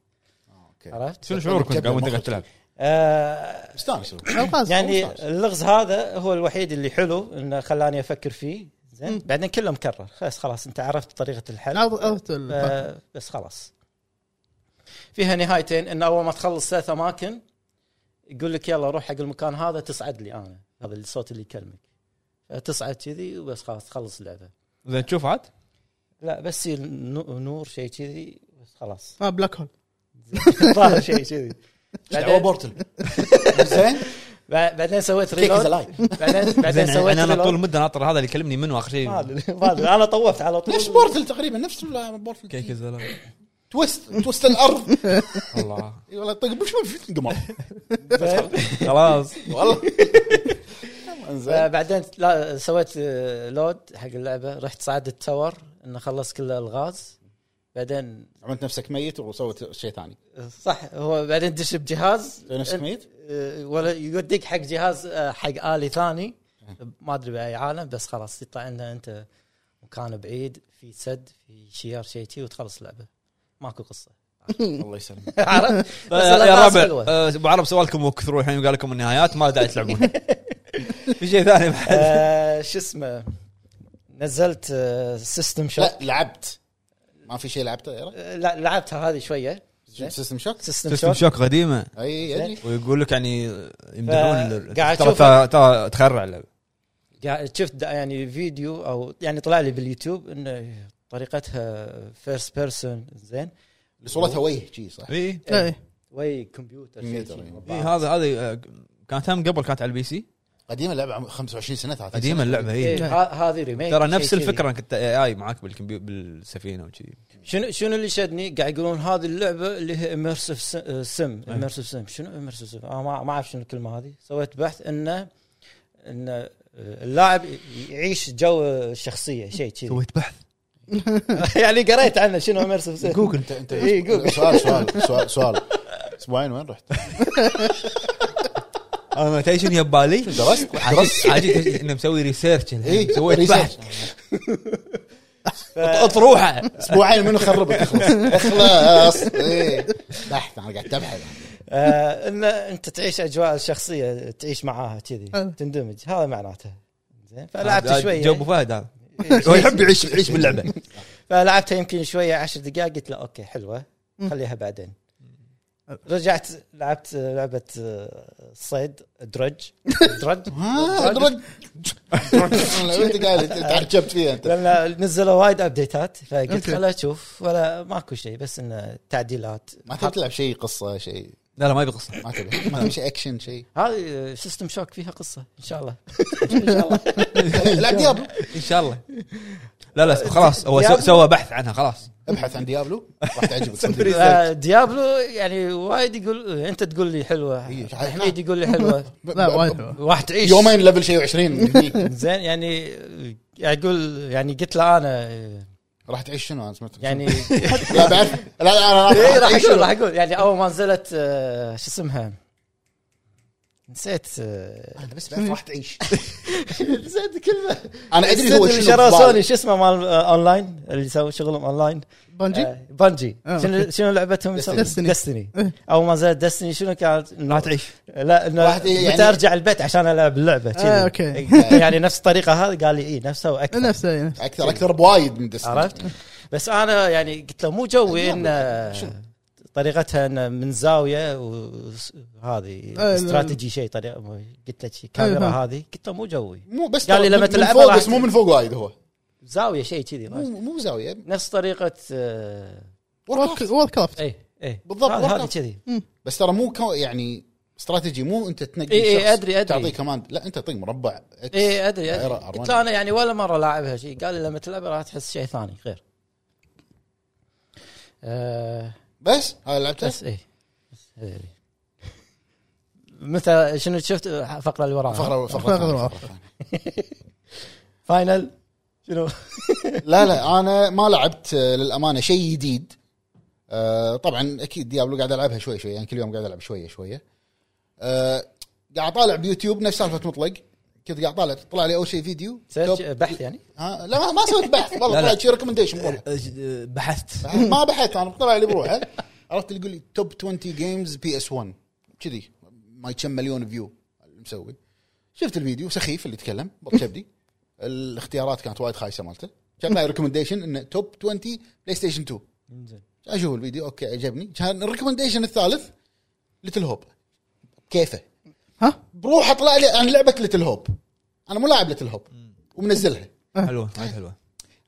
C: أوكي.
D: عرفت؟
A: شنو شعورك وانت قاعد وأنت قاعد تلعب؟
D: آه
C: مستانس
B: الغاز
D: يعني اللغز هذا هو الوحيد اللي حلو انه خلاني افكر فيه زين
B: مم.
D: بعدين كله مكرر خلاص خلاص انت عرفت طريقه الحل
B: عرض- عرضت ال-
D: ف- بس خلاص فيها نهايتين ان اول ما تخلص ثلاث اماكن يقول لك يلا روح حق المكان هذا تصعد لي انا هذا الصوت اللي يكلمك تصعد كذي وبس خلاص تخلص اللعبه
A: زين تشوف عاد
D: لا بس يصير نو- نور شيء كذي بس
B: (laughs)
D: خلاص
B: اه بلاك هول
D: ظاهر شيء كذي
C: دعوه
D: بعدين
C: (laughs) بورتل زين
D: بع- بعدين سويت
C: كيك از
D: ريلود
C: لايف
D: بعدين بعدين
A: زين
D: سويت
A: يعني انا طول
D: ريلود
A: المده ناطر هذا اللي يكلمني منو اخر
D: ما
A: شيء
D: أدري- ما أدري، انا طوفت على طول
C: نفس بورتل تقريبا نفس ال- بورتل
A: كيك الزلمه
C: توست توست الارض
A: الله
C: إي والله طق بش في القمر
A: (laughs) خلاص
C: (laughs) والله
A: طيب.
C: زين
D: بعدين لا سويت آه، لود حق اللعبه رحت صعدت تاور انه خلص كل الغاز بعدين
C: عملت نفسك ميت وسويت شيء ثاني
D: صح هو بعدين دش بجهاز
C: سوي نفسك ميت
D: آه، ولا يوديك حق جهاز آه، حق الي ثاني ما ادري باي عالم بس خلاص يطلع انه انت مكان بعيد في سد في شيار شيء تي وتخلص اللعبه ماكو
A: (laughs)
D: قصه
C: (laughs) الله يسلمك
D: عرفت (laughs) بس
A: طيب، يا
D: الألغاز
A: ربع (laughs)
D: حلوة.
A: آه، ابو عرب سوالكم وكثروا الحين قال لكم النهايات ما داعي تلعبون (laughs) في شيء ثاني
D: (laughs)
A: بعد؟
D: آه، شو اسمه نزلت آه، سيستم شوك
C: لا لعبت ما في شيء لعبته يا رجل.
D: آه، لا لعبتها هذه شويه زين.
C: سيستم شوك
D: سيستم
A: سيستم
D: شوك
A: شوك قديمه
C: اي ادري
A: ويقول لك يعني يمدحون ال-
D: قاعد
A: ترى
D: أشوف-
A: ترى- ترى تخرع اللعبه
D: قاعد شفت دا- يعني فيديو او يعني طلع لي باليوتيوب انه طريقتها فيرست بيرسون زين
C: صورتها وجه شي صح
A: اي
B: إيه.
D: وي كمبيوتر شيء شي.
A: اي هذا هذه آه، كانت هم قبل كانت على البي سي
C: قديمه اللعبه عمرها 25 سنه 30
A: قديمه اللعبه
D: إيه،
A: هي
D: ه- هذه ريميك
A: ترى
D: شيء
A: نفس
D: كذي.
A: الفكره انك كنت اي معاك بالكمبيو بالسفينه وكذي
D: شنو شنو اللي شدني قاعد يقولون هذه اللعبه اللي هي اميرسيف سم
A: إيه.
D: اميرسيف سم شنو اميرسيف سم آه ما ما اعرف شنو الكلمه هذه سويت بحث انه انه اللاعب يعيش جو الشخصيه شيء كذي
A: سويت بحث
D: (laughs) يعني قريت عنه شنو إيه، اميرسيف سم
A: جوجل
C: انت انت
D: إي،
C: (laughs)
D: قول.
C: سؤال سؤال إيه، سؤال سؤال اسبوعين وين رحت؟ (laughs)
A: انا تدري شنو يبالي (laughs)
C: درست؟
A: عجيب عجيب انه مسوي ريسيرش الحين
C: إي،
A: سويت
C: ريسيرش.
A: بحث اطروحه
C: اسبوعين منو خربك خلاص خلاص إي. إيه. بحث انا قاعد ابحث
D: آه ان انت تعيش اجواء الشخصيه تعيش معاها كذي
B: حلو.
D: تندمج هذا معناته زين فلعبت
A: آه، جو ابو
D: (laughs) شويه
A: فهد هذا (laughs) هو يحب يعيش يعيش باللعبه
D: فلعبتها يمكن شويه عشر دقائق قلت لا اوكي حلوه خليها بعدين رجعت لعبت لعبه آه، صيد
B: (laughs)
D: درج درج
C: ها (laughs) درج انت آه، قاعد تعجبت فيها انت
D: لان نزلوا وايد ابديتات فقلت
B: أوكي.
D: خليني اشوف ولا ماكو شيء بس انه تعديلات
C: ما تبي تلعب شيء قصه شيء
A: لا لا ما يبي قصه
C: ما تبي ما تبي شيء اكشن شيء
D: هذه سيستم شوك فيها قصه ان شاء الله ان شاء الله
C: العب ديابلو
A: ان شاء الله لا لا خلاص هو سو- سوى بحث عنها خلاص
C: ابحث عن ديابلو راح
D: (laughs)
C: تعجبك
D: لا، آه، ديابلو يعني وايد يقول انت تقول لي حلوه
C: إيه، صحيح.
D: حميد يقول لي
C: (laughs)
D: حلوه
B: لا وايد حلوة.
D: راح تعيش
C: يومين ليفل شيء 20
D: زين يعني يعني يقول يعني قلت له انا
C: راح تعيش شنو انا سمعت (laughs)
D: يعني
C: لا بعرف لا لا انا
D: إيه، راح
C: تعيش
D: اقول
C: شنو؟
D: راح اقول يعني اول ما نزلت آه، شو اسمها نسيت آه،
C: أنا بس بعرف راح تعيش
D: نسيت الكلمه
C: انا ادري هو
D: اللي
C: شنو
D: شرى
C: ببالي.
D: سوني شو اسمه مال آه، اونلاين اللي يسوي شغلهم اونلاين
B: بانجي
D: آه، بانجي
B: آه.
D: شنو شنو لعبتهم
B: Destiny. إيه.
D: دستني اول ما نزلت دستني شنو كانت
A: راح تعيش
D: لا انه
C: واحد
D: متى
C: يعني-
D: ارجع البيت عشان العب اللعبه كذي. إيه،
B: آه، أوكي.
D: يعني نفس الطريقه هذه قال لي اي نفسها واكثر
B: نفسه يعني
C: اكثر اكثر بوايد من دستني
D: عرفت؟ بس انا يعني قلت له مو جوي
C: أجنبي.
D: ان
C: شنو؟
D: طريقتها ان من زاويه وهذه
B: لا.
D: استراتيجي شيء طريقه قلت له شي
B: أي
D: كاميرا
B: آه، فاهم.
D: هذه قلت له مو جوي
C: مو بس
D: قال لي لما
C: من- من
D: تلعبه
C: فوق
D: راح
C: بس مو من فوق وايد هو
D: زاويه شيء كذي
C: مو مو زاويه
D: نفس طريقه آه،
C: ورك-
B: وورد كرافت
A: إيه،
D: اي اي
C: بالضبط،
D: هذا-
C: ورقة.
D: هذه كذي
C: بس ترى مو كو يعني استراتيجي مو انت تنقي
D: إي إي
C: شخص
D: إيه، أدري- إيه، أدري.
C: تعطيه كمان لا انت طق مربع إكس.
D: اي ادري ادري
C: دائرة،
D: قلت
C: أرمان.
D: له انا يعني ولا مره لاعبها شيء قال لي لما تلعبها راح تحس شيء ثاني غير آه،
C: بس هاي لعبته
D: بس اي بس هذي. متى شنو شفت الفقره اللي وراها
C: فقره فقره
B: فقرة
C: ثانية،
B: رابعة.
C: فقرة ثانية.
D: فاينل شنو
C: لا لا انا ما لعبت آه، للامانه شيء جديد آه، طبعا اكيد ديابلو قاعد العبها شوي شوي يعني كل يوم قاعد العب شويه شويه آه، قاعد اطالع بيوتيوب نفس سالفه مطلق كنت قاعد طالع طلع لي اول شيء فيديو
D: سيرش
C: توب-
D: بحث يعني
C: ها لا ما- ما سويت بحث
D: (laughs)
A: لا،
C: والله
A: لا.
C: طلع شي ريكومنديشن بروحه
A: أه، بحثت
C: ما بحثت انا طلع لي بروحه عرفت اللي يقول لي توب 20 جيمز بي اس 1 كذي ما كم مليون فيو مسوي شفت الفيديو سخيف اللي يتكلم بط كبدي الاختيارات كانت وايد خايسه مالته كان معي ريكومنديشن انه توب 20 بلاي ستيشن 2 اشوف الفيديو اوكي عجبني كان الريكومنديشن الثالث ليتل هوب كيفه
B: ها
C: بروحه طلع لي عن لعبه ليتل هوب انا مو لاعب ليتل هوب ومنزلها
A: حلوه وايد حلوه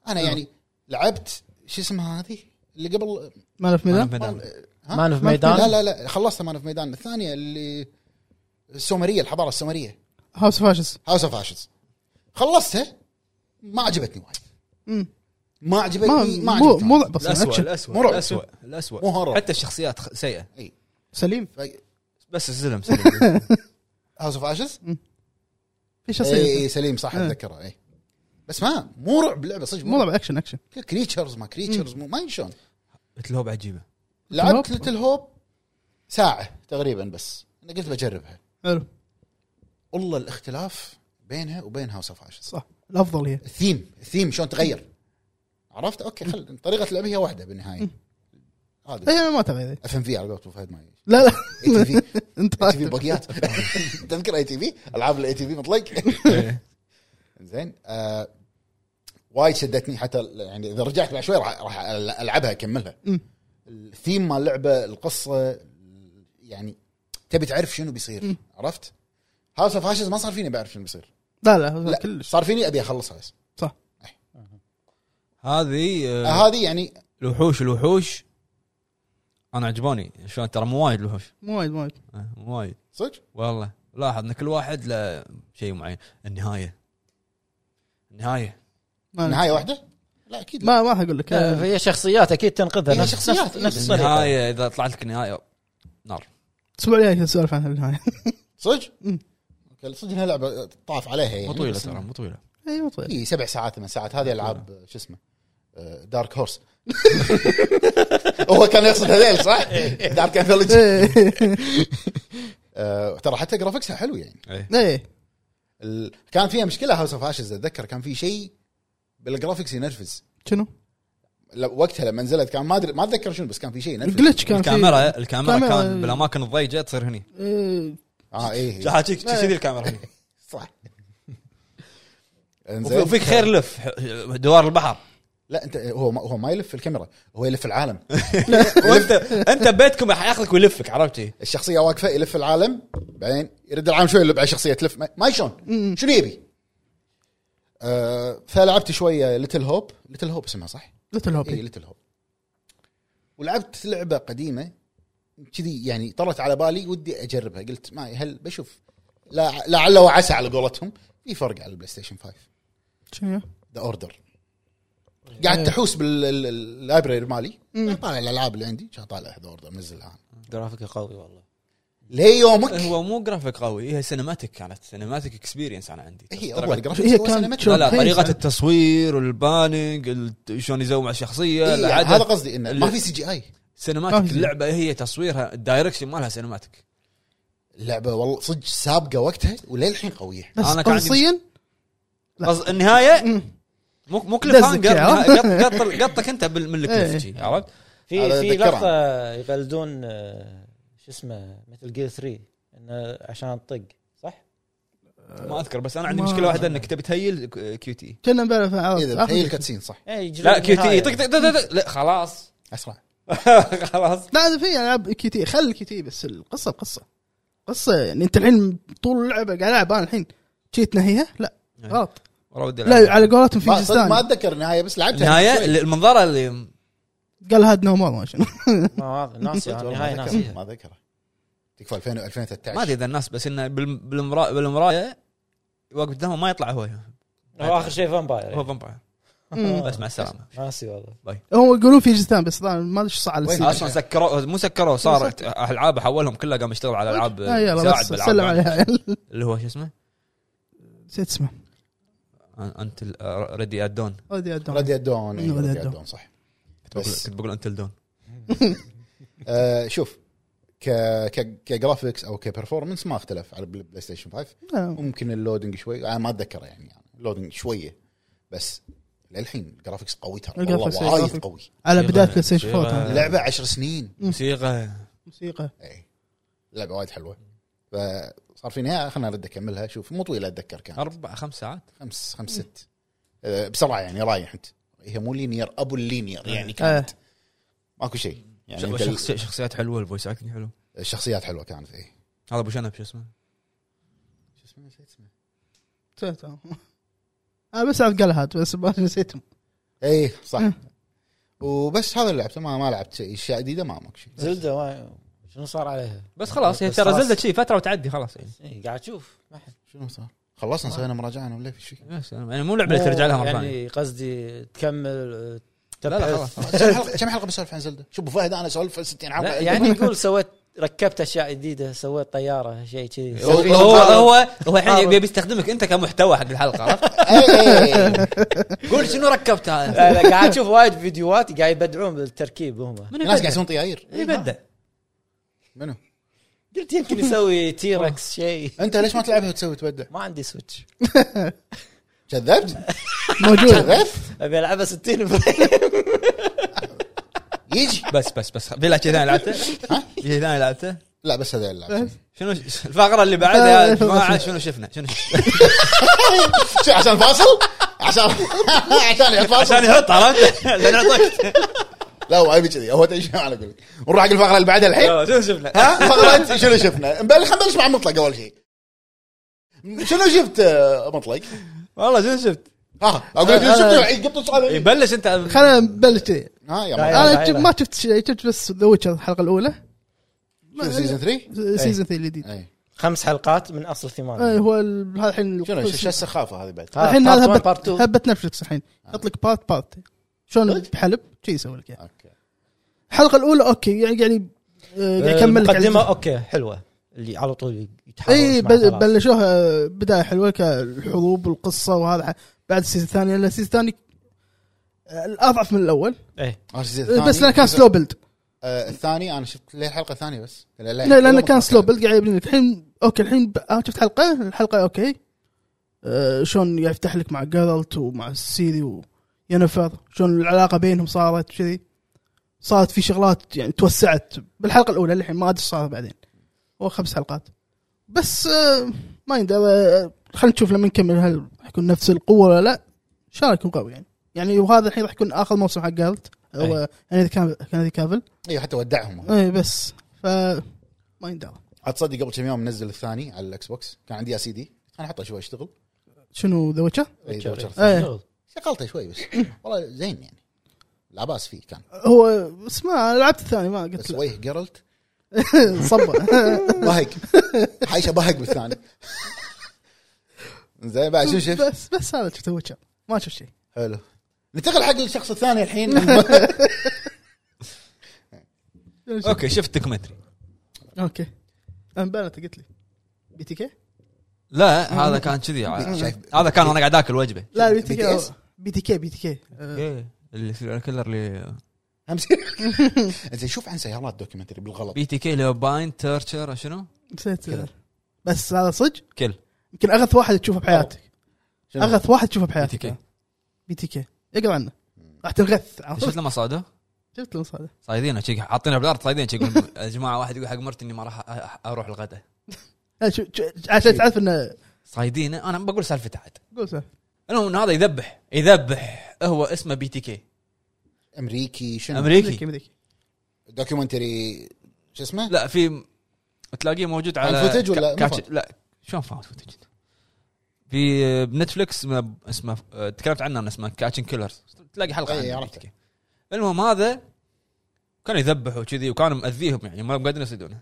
C: انا يعني لعبت شو اسمها هذه اللي قبل
B: ما ألف ميدان
C: ها؟
D: مان اوف
B: ما في-
C: لا
D: ميدان
C: لا لا خلصت مان في ميدان الثانيه اللي السومريه الحضاره السومريه
B: هاوس فاشز
C: هاوس اوف اشز خلصتها ما عجبتني وايد
B: مم.
C: ما
B: ما
C: عجبتني إيه، ما
B: مو
C: عجبتني
B: مو لعبه أصلاً،
A: الاسوء
B: أكشن.
A: الاسوء
C: مو رعب.
A: الاسوء الاسوء
C: مو هرب.
A: حتى الشخصيات خ- سيئه
B: سليم
A: بس الزلم سلم
C: هاوس اوف اشز
B: في شيء
C: اي
B: سليم
C: سليم صح
B: إيه.
C: اتذكرها اي بس ما مو رعب لعبه صدق
B: مو لعبه اكشن اكشن
C: كريتشرز ما كريتشرز مو ما أدري شلون
A: قلت له عجيبه
C: لعبت
B: هوب.
C: ليتل هوب ساعه تقريبا بس انا قلت بجربها
B: حلو
C: والله الاختلاف بينها وبين هاوس اوف اشز
B: صح الافضل هي
C: الثيم الثيم شلون تغير عرفت اوكي خل طريقه لعبه هي واحده بالنهايه هذا
B: اي إيه، ما تبي
C: اف ام في على قولت أبو فهد ما اي
B: لا لا
C: تي في
B: (laughs) انت
C: اي تي في باقيات (laughs) تذكر اي تي في العاب الاي تي في مطلق
B: (laughs)
A: إيه.
C: زين آه، وايد شدتني حتى ال- يعني اذا رجعت بعد شوي راح راح أل- العبها اكملها
B: مم.
C: الثيم مال اللعبه القصه يعني تبي تعرف شنو بيصير عرفت؟ هاوس اوف هاشز ما صار فيني بعرف شنو بيصير
B: لا لا
C: لا
B: كلش
C: صار فيني ابي اخلصها بس
B: صح
A: هذه
C: آه،
A: آه،
C: هذه يعني
A: الوحوش الوحوش انا عجباني شلون ترى مو وايد الوحوش
B: مو وايد مو وايد
A: آه، مو وايد
C: صدق
A: والله لاحظ ان كل واحد له شيء معين النهايه النهايه
B: ما
C: نهايه واحده؟ لا اكيد لا.
B: ما ما راح اقول لك
D: آه، هي شخصيات اكيد تنقذها
C: هي
D: نفس
C: شخصيات،
D: نفس-
C: إيه.
D: نفس الطريقه
A: النهايه اذا طلعت لك النهايه نار
B: الاسبوع الجاي نسولف عنها (laughs) بالنهايه
C: صدق؟
B: مم.
C: اوكي صدق انها لعبه طاف عليها يعني
A: مو طويله
C: بس
A: ترى مو طويله
B: اي مو طويل
C: اي سبع ساعات ثمان ساعات هذه العاب شو اسمه آه، دارك هورس (laughs) هو كان يقصد هذيل صح؟
A: إيه.
C: دارك انثولوجي
B: إيه.
C: آه، ترى حتى جرافيكسها حلو يعني
B: اي
C: ال- كان فيها مشكله هاوس اوف هاشز اتذكر كان في شيء بالجرافيكس ينرفز
B: شنو؟
C: ل- وقتها لما نزلت كان ما ادري ما اتذكر شنو بس كان في شيء ينرفز
B: الجلتش كان في-
A: الكاميرا إيه. الكاميرا
B: كاميرا-
A: كان بالاماكن الضيقه تصير هني
B: إيه،
C: اه ايه إيه.
A: حاجيك كذي الكاميرا هني
C: صح
A: وفي-
C: انزين.
A: وفيك خير لف دوار البحر
C: لا انت هو ما هو ما يلف في الكاميرا هو يلف العالم
A: وانت انت ببيتكم راح ياخذك ويلفك عرفتي
C: الشخصيه واقفه يلف العالم بعدين يرد العالم شوي يلف على الشخصيه تلف ما- ما شلون شنو يبي؟ آه فلعبت شويه ليتل هوب ليتل هوب اسمها صح؟
B: ليتل
C: اي
B: هوبي
C: ليتل هوب ولعبت لعبه قديمه كذي يعني طرت على بالي ودي اجربها قلت ما هل بشوف لا لعل وعسى على قولتهم في فرق على البلاي ستيشن 5
B: شنو هي؟
C: ذا اوردر قعدت احوس باللايبرري مالي طالع الالعاب اللي عندي كان طالع ذا اوردر منزلها أنا.
D: جرافيكه قوي والله
C: ليومك
A: هو مو جرافيك قوي هي سينماتيك كانت سينماتيك اكسبيرينس انا عندي
C: هي
A: طريقة-
C: اول
B: هي
C: جرافيكس هو
B: كان-
C: سينماتيك.
A: لا لا
B: شلون؟
A: طريقه
B: هي-
A: التصوير والباننج ال- شلون يسوي مع الشخصيه
C: إيه، يعني
A: العدد.
C: هذا قصدي انه ما
A: ال-
C: في سي جي اي
B: ما
A: سينماتيك
B: في-
A: اللعبه هي تصويرها الدايركشن مالها سينماتيك
C: اللعبه والله صدق سابقه وقتها وللحين قويه
B: بس
A: أنا كان عندي-
B: قصيا لا.
A: قص- النهايه مو مو كل
B: دزك
A: فان
B: يا.
A: قط- قط- قط- قطك انت بال- من
B: إيه.
A: الكلف شي، عرفت؟
D: في
C: هذا
D: في
C: أتذكرها.
D: لقطه يقلدون آه، شو اسمه مثل جير 3 انه عشان تطق صح؟
A: ما اذكر بس انا عندي مشكله واحده انك تبي تهيل كيو تي
B: كنا نبلع في عرض.
C: اذا هي
B: آه، آخر شيء.
C: الكاتسين صح
D: إيه، يجرون
A: لا كيو تي
D: النهاية.
A: طق طق طق طق لا خلاص (laughs)
C: اسرع
A: خلاص
B: لا هذا في العاب كيو تي خل الكيو تي بس القصه القصه قصه يعني انت الحين طول اللعبه قاعد العب انا الحين شي تنهيها لا
A: يعني
B: غلط
A: والله ودي
B: لا
A: ألعب.
B: على قولتهم في
C: ما
B: جزء
C: صدق ما
B: ثاني
C: اتذكر النهايه بس لعبتها
A: النهايه
C: طيب، شوي.
A: المنظره اللي
B: قال هاد نو مور ما شنو (laughs)
D: ما
C: (laughs)
D: واضح ناسي
C: صدق
D: أنا
C: والله
D: النهايه
C: ما
D: ناسي
C: أذكر- ما اذكره تكفى 2000 2013
A: ما ادري اذا الناس بس انه بالم- بالمرا- بالمرايه وقت قدامه ما يطلع هو
D: هو اخر شيء فامباير
A: هو
D: يعني.
A: فامباير
B: مم.
A: بس مع السلامه
D: ناسي والله
B: هم يقولون في جزء ثاني بس طبعاً ما ادري ايش صار على
C: وين؟
B: السيرفر.
A: اصلا سكروه مو سكروه صار العابه حولهم كلها قام يشتغل على العاب
B: آه يلا
A: يساعد
B: بس
A: بالألعاب.
B: سلم عليها (laughs)
A: اللي هو شو اسمه
B: نسيت اسمه
A: انت ريدي ادون
B: ودي أدور.
C: راديا دون
B: إيه،
C: راديا
B: Radiant
C: دون صح
A: كنت بقول-
C: بس.
A: كنت بقول انت الدون
C: آه، شوف ك ك كجرافكس او كبرفورمنس ما اختلف على البلاي ستيشن 5
B: آه.
C: ممكن اللودنج شوي انا ما اتذكره يعني, يعني اللودنج شويه بس للحين الجرافكس قوي ترى
B: الجرافيكس-
C: والله وايد
B: الجرافيك.
C: قوي
B: على
A: موسيقى-
B: بدايه بلاي ستيشن
A: موسيقى.
B: 4 ترى.
C: اللعبه 10 سنين
A: موسيقى
B: آه، موسيقى
C: اي لعبه وايد حلوه فصار في نهايه خلنا ارد اكملها شوف مو طويله اتذكر كان
A: اربع خمس ساعات
C: خمس خمس ست آه، بسرعه يعني رايح انت هي مو لينير ابو اللينير يعني
B: آه.
C: كانت ماكو شيء يعني
A: شخ-
C: أنت ال-
A: شخص- شخصيات حلوه الفويس اكتنج حلو
C: الشخصيات حلوه كانت إيه. اي
A: هذا ابو شنب شو اسمه
C: شو اسمه نسيت اسمه
B: نسيت. انا بس عاد قال هاد بس ما نسيتهم
C: اي إيه، صح
B: مم.
C: وبس هذا اللي لعبته ما ما لعبت شيء اشياء جديده ما ماكو شيء
D: زلده ما شنو صار عليها؟
A: بس خلاص هي
D: بس
A: ترى
D: خلاص.
A: زلدة شي فتره وتعدي خلاص يعني
D: إيه، قاعد اشوف ما حد
C: شنو صار؟ خلصنا سوينا مراجعه ولا في شيء؟
A: بس يعني مو لعبه اللي ترجع لها مره ثانيه
D: يعني قصدي تكمل
A: لا لا خلاص
C: كم حلقه كم حلقه بسولف عن زلده؟ شوف أبو فهد انا اسولف 60 حلقه
D: لا يعني يقول سويت ركبت اشياء جديده سويت طياره شيء
A: هو
D: كذي
C: سوي
A: هو
C: شغل.
A: هو, هو الحين يبي يستخدمك انت كمحتوى حق الحلقه عرفت؟
C: إي، إي.
A: (laughs) قول شنو ركبت هذا
D: لا، لا، قاعد اشوف وايد فيديوهات قاعد يبدعون بالتركيب هم
A: من
C: الناس قاعد
A: يبدع؟
C: يسوون طياير
A: من يبدع؟
C: منو؟
D: قلت يمكن
A: (laughs)
D: يسوي تيركس شيء
C: انت ليش ما تلعبها وتسوي تبدع؟
D: ما عندي سويتش
C: كذبت؟
B: موجود
C: كذبت؟
D: ابي العبها 60 فريم
C: يجي
A: بس بس بس في لا شيء ثاني لعبته؟ في شيء ثاني لعبته؟
C: لا بس هذا اللي لعبته.
A: شنو الفقره اللي بعدها يا جماعه شنو شفنا؟ شنو شفنا؟
C: شو (laughs) عشان فاصل؟ عشان (laughs) عشان يحط فاصل
A: عشان يحط عرفت؟ (laughs) لان عطيت
C: لا هو ابي كذي هو تدري شنو انا اقول لك. نروح حق الفقره اللي بعدها (laughs) الحين
A: شنو شفنا؟
C: ها فقره شنو شفنا؟ نبلش خلينا نبلش مع مطلق اول شيء شنو شفت آه، مطلق؟
A: (laughs) والله شنو شفت؟ إيه،
C: ها اقول لك شنو شفت إيه، قبل السؤال
A: يبلش انت
B: خلينا نبلش كذي
C: ها يا
D: لا،
C: مرحبا.
D: يلا،
B: انا
D: يلا.
B: ما شفت شيء شفت بس ذا ويتشر الحلقه الاولى
C: شنو إيه. سيزون 3
B: سيزون 3 الجديد
C: اي
D: (laughs) خمس حلقات من اصل ثمان
B: إيه، هو ال- هذا الحين
C: آه، شنو شو آه، السخافه هذه بعد؟
B: الحين هذا
D: part one, part
B: هبت
D: two.
B: هبت نتفلكس الحين يحط لك بارت بارت شلون
C: آه. صدق؟ آه.
B: بحلب شي يسوي لك إياه.
C: اوكي
B: الحلقه الاولى اوكي يعني يعني آه،
D: أه،
B: قاعد يكمل لك
D: مقدمه
B: على-
D: اوكي حلوه اللي على طول يتحول
A: إيه،
B: اي
D: مع
B: بل-
D: ثلاث.
B: بلشوها بدايه حلوه كالحروب والقصه وهذا ح- بعد السيزون الثاني لان السيزون الثاني آه، الاضعف من الاول
D: إيه.
C: آه، السيزون
B: آه،
C: الثاني-
B: بس لانه كان سلو بيلد
C: آه، الثاني انا شفت ليه الحلقه الثانيه بس لا- لا-
B: لا لانه
C: ما
B: كان
C: كان.
B: سلو بيلد قاعد يبني لك الحين اوكي الحين ب- آه شفت حلقه الحلقه اوكي آه شلون يفتح لك مع جارلت ومع سيري وينفر شلون العلاقه بينهم صارت كذي صارت في شغلات يعني توسعت بالحلقه الاولى للحين ما ادري ايش صار بعدين هو خمس حلقات بس آه ما يندرى آه، خلينا نشوف لما نكمل هل راح يكون نفس القوه ولا لا ان شاء الله يكون قوي يعني يعني وهذا الحين راح يكون اخر موسم حق جارلت
D: أي.
B: او هنري كافل- كافل
C: ايوه حتى ودعهم
B: اي إيه، بس ف ما يندرى
C: اتصدق قبل كم يوم منزل الثاني على الاكس بوكس كان عندي سي دي انا احطه شوي اشتغل
B: شنو ذا ويتشر؟
C: أي The Witcher
B: إيه.
D: شغل.
C: شغلته
A: (coughs)
C: شوي بس والله زين يعني لا باس فيه كان
B: هو بس ما لعبت الثاني ما قلت
C: بس
B: له
C: ويه جيرلت
B: (laughs) صبا
C: بهق حيشه بهق بالثاني (laughs) زين بعد شو شفت؟
B: بس بس هذا شفت ويتشر ما شفت شيء
C: حلو ننتقل حق الشخص
A: (laughs)
C: الثاني الحين
A: اوكي شفت دوكيومنتري
B: اوكي انبلت قلت لي بي تي كي؟
A: لا هذا كان كذي
C: شايف-
A: هذا كان وانا قاعد اكل وجبه
B: لا بي تي
C: BTS
B: كي بي تي كي بي تي كي أه،
A: إيه، اللي في الكلر اللي
C: همس زين شوف عن سيارات دوكيومنتري بالغلط
A: بي تي كي لوباين تيرشر شنو؟
B: نسيت
C: كذا.
B: بس هذا صدق
A: كل
B: يمكن اغث واحد تشوفه بحياتك
C: شنو؟
B: اغث واحد تشوفه بحياتك
A: BTK.
B: بي تي كي اقرا عنه راح تنغث
A: شفت لما صادوا؟
B: شفت المصادر
A: صايدين شي حاطينه بالارض صايدين شي يقول (laughs) يا جماعه واحد يقول حق مرتي اني ما راح أ- أ- اروح الغداء
B: عشان تعرف انه
A: صايدينه انا بقول سالفته عاد
B: قول سهل
A: المهم إن هذا يذبح يذبح هو اسمه بي تي كي
C: امريكي شنو
A: امريكي
B: مديك
C: دوكيومنتري شو اسمه؟
A: لا في تلاقيه موجود على
C: عن footage ولا
A: كا-
C: مو
A: كاتش-
C: فاهم؟
A: لا شلون فاهم فوتج في بنتفلكس اسمه اسمه آه، تكلمت عنه أنا اسمه كاتشن كيلرز تلاقي حلقه
C: إي،
A: عنه
C: عرفته.
A: بي تي كي. المهم هذا كان يذبح وكذي وكان مأذيهم يعني ما قادرين يصيدونه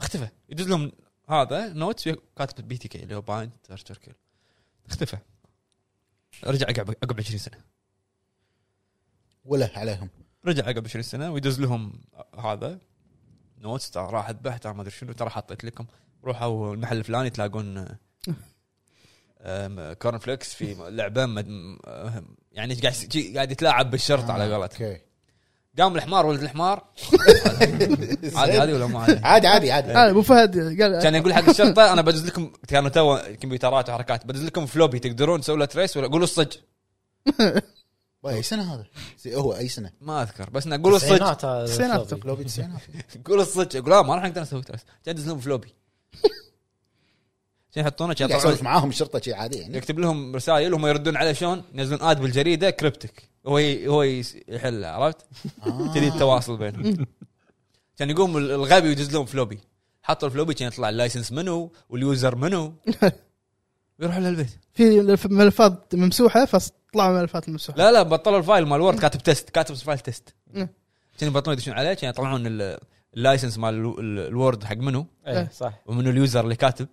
A: اختفى يدز لهم هذا نوت فيه كاتب بي تي كي اللي هو بايند ترشر كيل اختفى رجع عقب عقب 20 سنه
C: ولا عليهم
A: رجع عقب 20 سنه ويدز لهم هذا نوتس ترى راح ذبحت ترى ما ادري شنو ترى حطيت لكم روحوا المحل الفلاني تلاقون آم، كورن فليكس في لعبه مد... م- آم، يعني قاعد يس- شي- قاعد يتلاعب بالشرط على قولتك
C: اوكي
A: قام الحمار ولد (laughs) الحمار عادي عادي ولا مو عادي؟
C: عادي عادي عادي
B: آه، ابو فهد قال
A: كان يقول حق الشرطه انا بدز لكم كانوا تو كمبيوترات وحركات بدز لكم فلوبي تقدرون تسوي له تريس ولا قولوا الصج
C: باي، اي سنه هذا؟ سي- هو اي سنه؟
A: ما اذكر بس انه قولوا الصج
B: التسعينات
D: الصج
C: لوبي تسعينات
A: قول الصدق يقول لا ما راح نقدر نسوي ترس تدز لهم فلوبي عشان يحطونه عشان
C: قاعد
A: يطلعون-
C: يسولف معاهم الشرطه شي عادي يعني
A: يكتب لهم رسائل وهم يردون عليه شلون ينزلون اد بالجريده كريبتك هو ي- هو يس- يحلها عرفت؟
C: آه.
A: كذي التواصل بينهم كان يقوم ال- الغبي ويدز لهم فلوبي حطوا الفلوبي كان يطلع اللايسنس منو واليوزر منو يروحوا للبيت
B: في الف- ملفات ممسوحه فطلعوا ملفات ممسوحه
A: لا لا بطلوا الفايل مال وورد كاتب تيست كاتب فايل تيست
B: مم.
A: كان يبطلون يدشون عليه كان يطلعون ال- اللايسنس مال الو- ال- الوورد حق منو
D: اي إيه، صح
A: ومن اليوزر اللي كاتب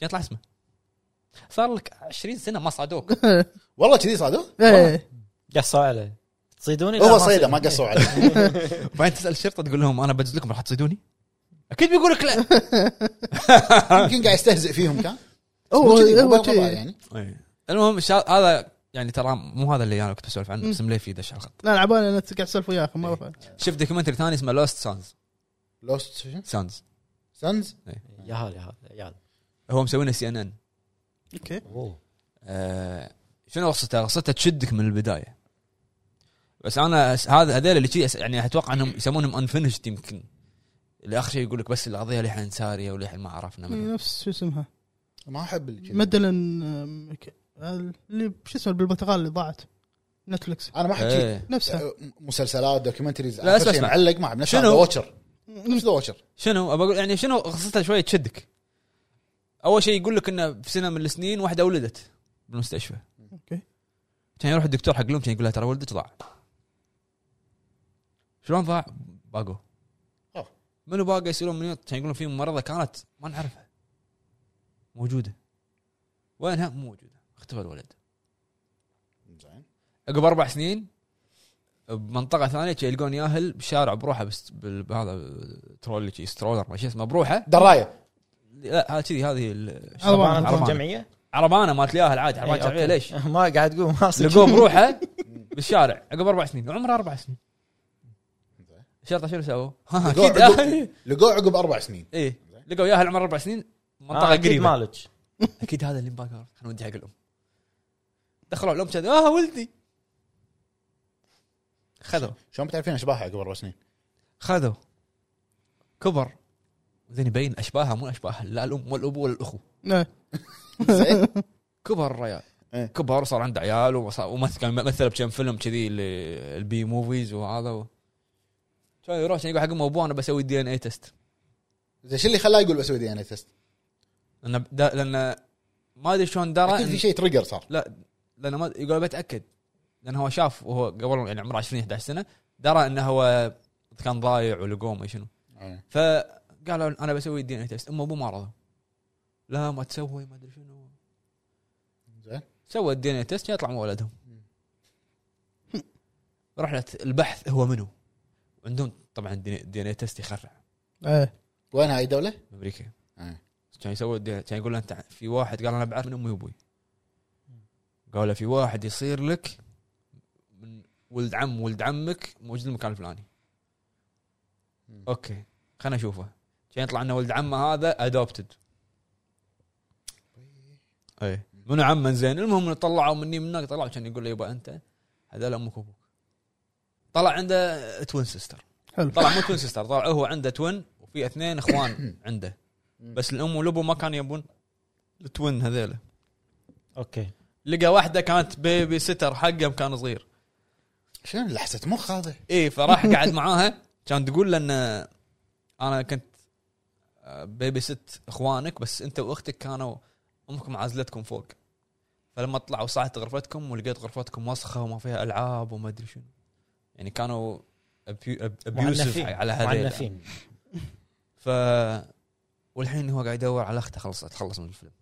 A: كان يطلع اسمه صار لك 20 سنه ما صادوك
C: والله كذي صادوه؟
B: إيه.
D: قصوا عليه تصيدوني لا،
C: هو
D: ما
C: صيده ما
D: صيد.
C: قصوا عليه
A: بعدين تسال الشرطه تقول لهم انا بدز لكم راح تصيدوني اكيد بيقول لك لا
C: يمكن قاعد يستهزئ فيهم كان
B: هو
C: كذي، مو
B: هو
C: بالغباء
B: كذي.
C: يعني
A: إيه. المهم شا... هذا يعني ترى مو هذا اللي انا كنت بسولف عنه بس ملي في دش على الخط
B: لا انا عبالي انا قاعد اسولف وياك ما أعرف.
A: شفت دوكيومنتري ثاني اسمه لوست سانز
C: لوست
A: سانز
C: سنز
D: إيه، يا هلا يا هلا يا هلا
A: هو مسوينه سي ان ان
B: اوكي
D: أوه.
A: آه، شنو قصته؟ قصته تشدك من البدايه. بس انا أس- هذا هذول اللي شي أس- يعني اتوقع انهم يسمونهم انفنشد يمكن. اللي اخر شيء يقول لك بس القضيه للحين ساريه وللحين ما عرفنا منها.
B: نفس شو اسمها
C: ما احب اللي كذي.
B: مدلن آم، ك- اللي شو اسمه بالبرتقال اللي ضاعت نتفلكس
C: انا ما احب كذي
A: إيه.
B: نفسها
C: مسلسلات دوكيومنتريز
A: لا، اسمع،
C: آخر شيء
A: اسمع.
C: معلق ما احب نفس
A: شنو؟
C: ذا واتشر نفس ذا واتشر
A: شنو أبى اقول يعني شنو قصته شويه تشدك. اول شيء يقول لك انه في سنه من السنين واحده ولدت بالمستشفى.
B: اوكي
A: كان يروح الدكتور حق الام كان يقول لها ترى ولدك ضاع. شلون ضاع؟ باقو.
C: أوه.
A: منو باقي يسالون منو كان يقولون في ممرضه كانت ما نعرفها. موجوده. وينها؟ مو موجوده. اختفى الولد.
C: زين
A: عقب اربع سنين بمنطقه ثانيه كان يلقون ياهل بشارع بروحه بس بال- بهذا ترول شي سترولر ما شو اسمه بروحه
C: درايه
A: لا هذا كذي هذه ال- شو
B: عربانة.
A: اسمها؟
D: طبعاً
A: عربانه
D: جمعيه
A: عربانه مالت الياهل عادي عربانه
D: إيه،
A: جمعيه
D: أوكي.
A: ليش؟
D: (laughs) ما قاعد تقول ما صدق.
A: لقوه بروحه بالشارع عقب اربع سنين عمره اربع سنين الشرطه شنو سووا؟ (laughs) ها،
C: لقوه
A: اكيد
C: عقب-
A: آه.
C: لقوه عقب اربع سنين
A: ايه لقوا ياهل عمره اربع سنين
D: آه،
A: منطقه
D: أكيد
A: قريبه
D: مالك
A: اكيد هذا اللي مباكر خلينا نودي حق الام دخلوا على الام كذا اه ولدي خذوا
C: شلون بتعرفين اشباهها عقب اربع سنين؟
A: خذوا كبر زين يبين اشباهها مو اشباهها لا الام ولا الابو ولا الاخو
B: لا.
C: زين
A: كبر الرجال
C: إيه.
A: كبر وصار عنده عيال وصار- ومثل كان مثل بكم فيلم كذي اللي- البي موفيز وهذا و... كان يروح كان يقول حق امه وابوه انا بسوي دي ان اي تيست
C: زين شو اللي خلاه يقول يعني بسوي دي ان اي تيست؟
A: لان دا لان ما ادري شلون درى
C: اكيد في
A: إن-
C: شيء تريجر صار
A: لا لان ما يقول بتاكد لان هو شاف وهو قبل يعني عمره 20 11 سنه درى انه هو كان ضايع ولقوه ما شنو
C: إيه.
A: فقالوا انا بسوي الدي ان اي تيست امه وابوه ما رضوا لا ما تسوي ما ادري شنو
C: زين
A: سوى الدي ان اي تيست يطلع مو ولدهم رحلة البحث هو منو عندهم طبعا الدي ان اي تيست يخرع
B: إيه.
C: وين هاي الدوله؟
A: بامريكا
C: إيه.
A: كان يسوي الدي- كان يقول له انت في واحد قال انا بعرف من امي وابوي قال له في واحد يصير لك من ولد عم ولد عمك موجود المكان الفلاني
C: مم.
A: اوكي خلنا نشوفه كان يطلع انه ولد عمه هذا ادوبتد
C: طيب.
A: اي منو عمه زين المهم إنه طلعوا مني من هناك طلعوا كان يقول له يبا انت هذا امك وابوك طلع عنده توين سيستر
B: حلو
A: طلع مو توين سيستر طلع هو عنده توين وفي اثنين اخوان عنده بس الام والابو ما كانوا يبون التوين هذيلا
D: اوكي
A: لقى واحده كانت بيبي سيتر حقه كان صغير
C: شنو لحسه مخ هذا
A: اي فراح قعد معاها كان تقول له ان انا كنت آه، بيبي ست اخوانك بس انت واختك كانوا امكم عازلتكم فوق فلما طلعوا صعدت غرفتكم ولقيت غرفتكم وسخه وما فيها العاب وما ادري شنو يعني كانوا ابيوسف
D: معنفين.
A: على هذا
D: معنفين
A: ف والحين هو قاعد يدور على اخته خلص تخلص من الفيلم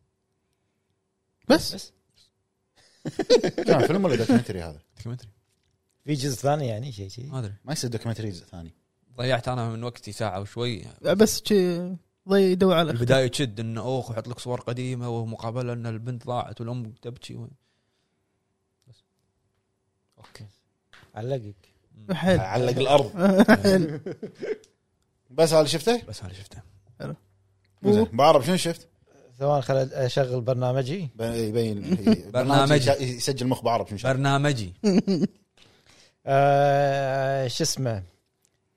B: بس
C: كان فيلم ولا دوكيومنتري هذا
A: دوكيومنتري
D: في جزء ثاني يعني شيء شيء
A: ما ادري
C: ما يصير دوكيومنتري جزء ثاني
A: ضيعت انا من وقتي ساعه وشوي
B: بس شي ضي يدور على الأخت.
A: البدايه تشد انه اوخ يحط لك صور قديمه ومقابله ان البنت ضاعت والام تبكي و...
D: اوكي علقك
B: حيل
C: علق الارض (laughs)
B: حيل.
C: بس هذا شفته؟
A: بس هذا شفته
C: زين بعرف شنو شفت؟
D: ثواني خل اشغل برنامجي
C: ب- يبين
A: برنامج.
C: يش- يسجل مخ بعرف شنو شفت
A: (laughs) برنامجي
D: آه شو اسمه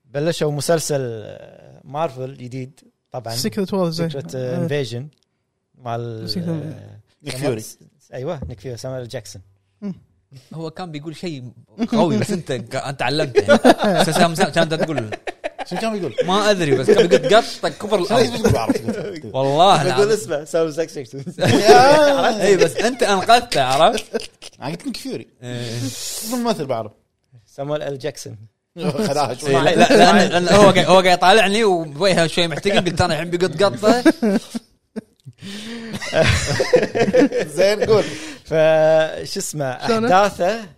D: بلشوا مسلسل آه، مارفل جديد طبعا
B: سيكرت وورز زين إيه.
D: سكرت
C: آه،
D: انفيجن مع ال
B: Secret-
D: آه،
C: نيك
D: سامويل-
C: فيوري
D: ايوه نيك فيوري سامويل جاكسون
A: هو كان بيقول شيء قوي بس انت انت علمته يعني سام- سام- كانت تقول
C: شنو كان بيقول؟
A: ما ادري بس كان بيقول قطه كبر (laughs)
C: ليش
A: الارض
C: بتقول بعرف؟
A: والله
D: بقول
A: العظيم.
D: اسمه سامويل جاكسون
A: اي بس انت انقذته (laughs) عرفت؟
C: انا قلت نيك فيوري
A: إيه.
C: ممثل بعرف
D: سامويل ال جاكسون
C: خداها شوي
A: إيه، لا لا لأن- لأن هو قاعد- هو قاعد يطالعني وبويها شوي محتقن قلت انا الحين بيقط قطه
C: زين قول
D: فشو اسمه
B: شلونه؟
D: احداثه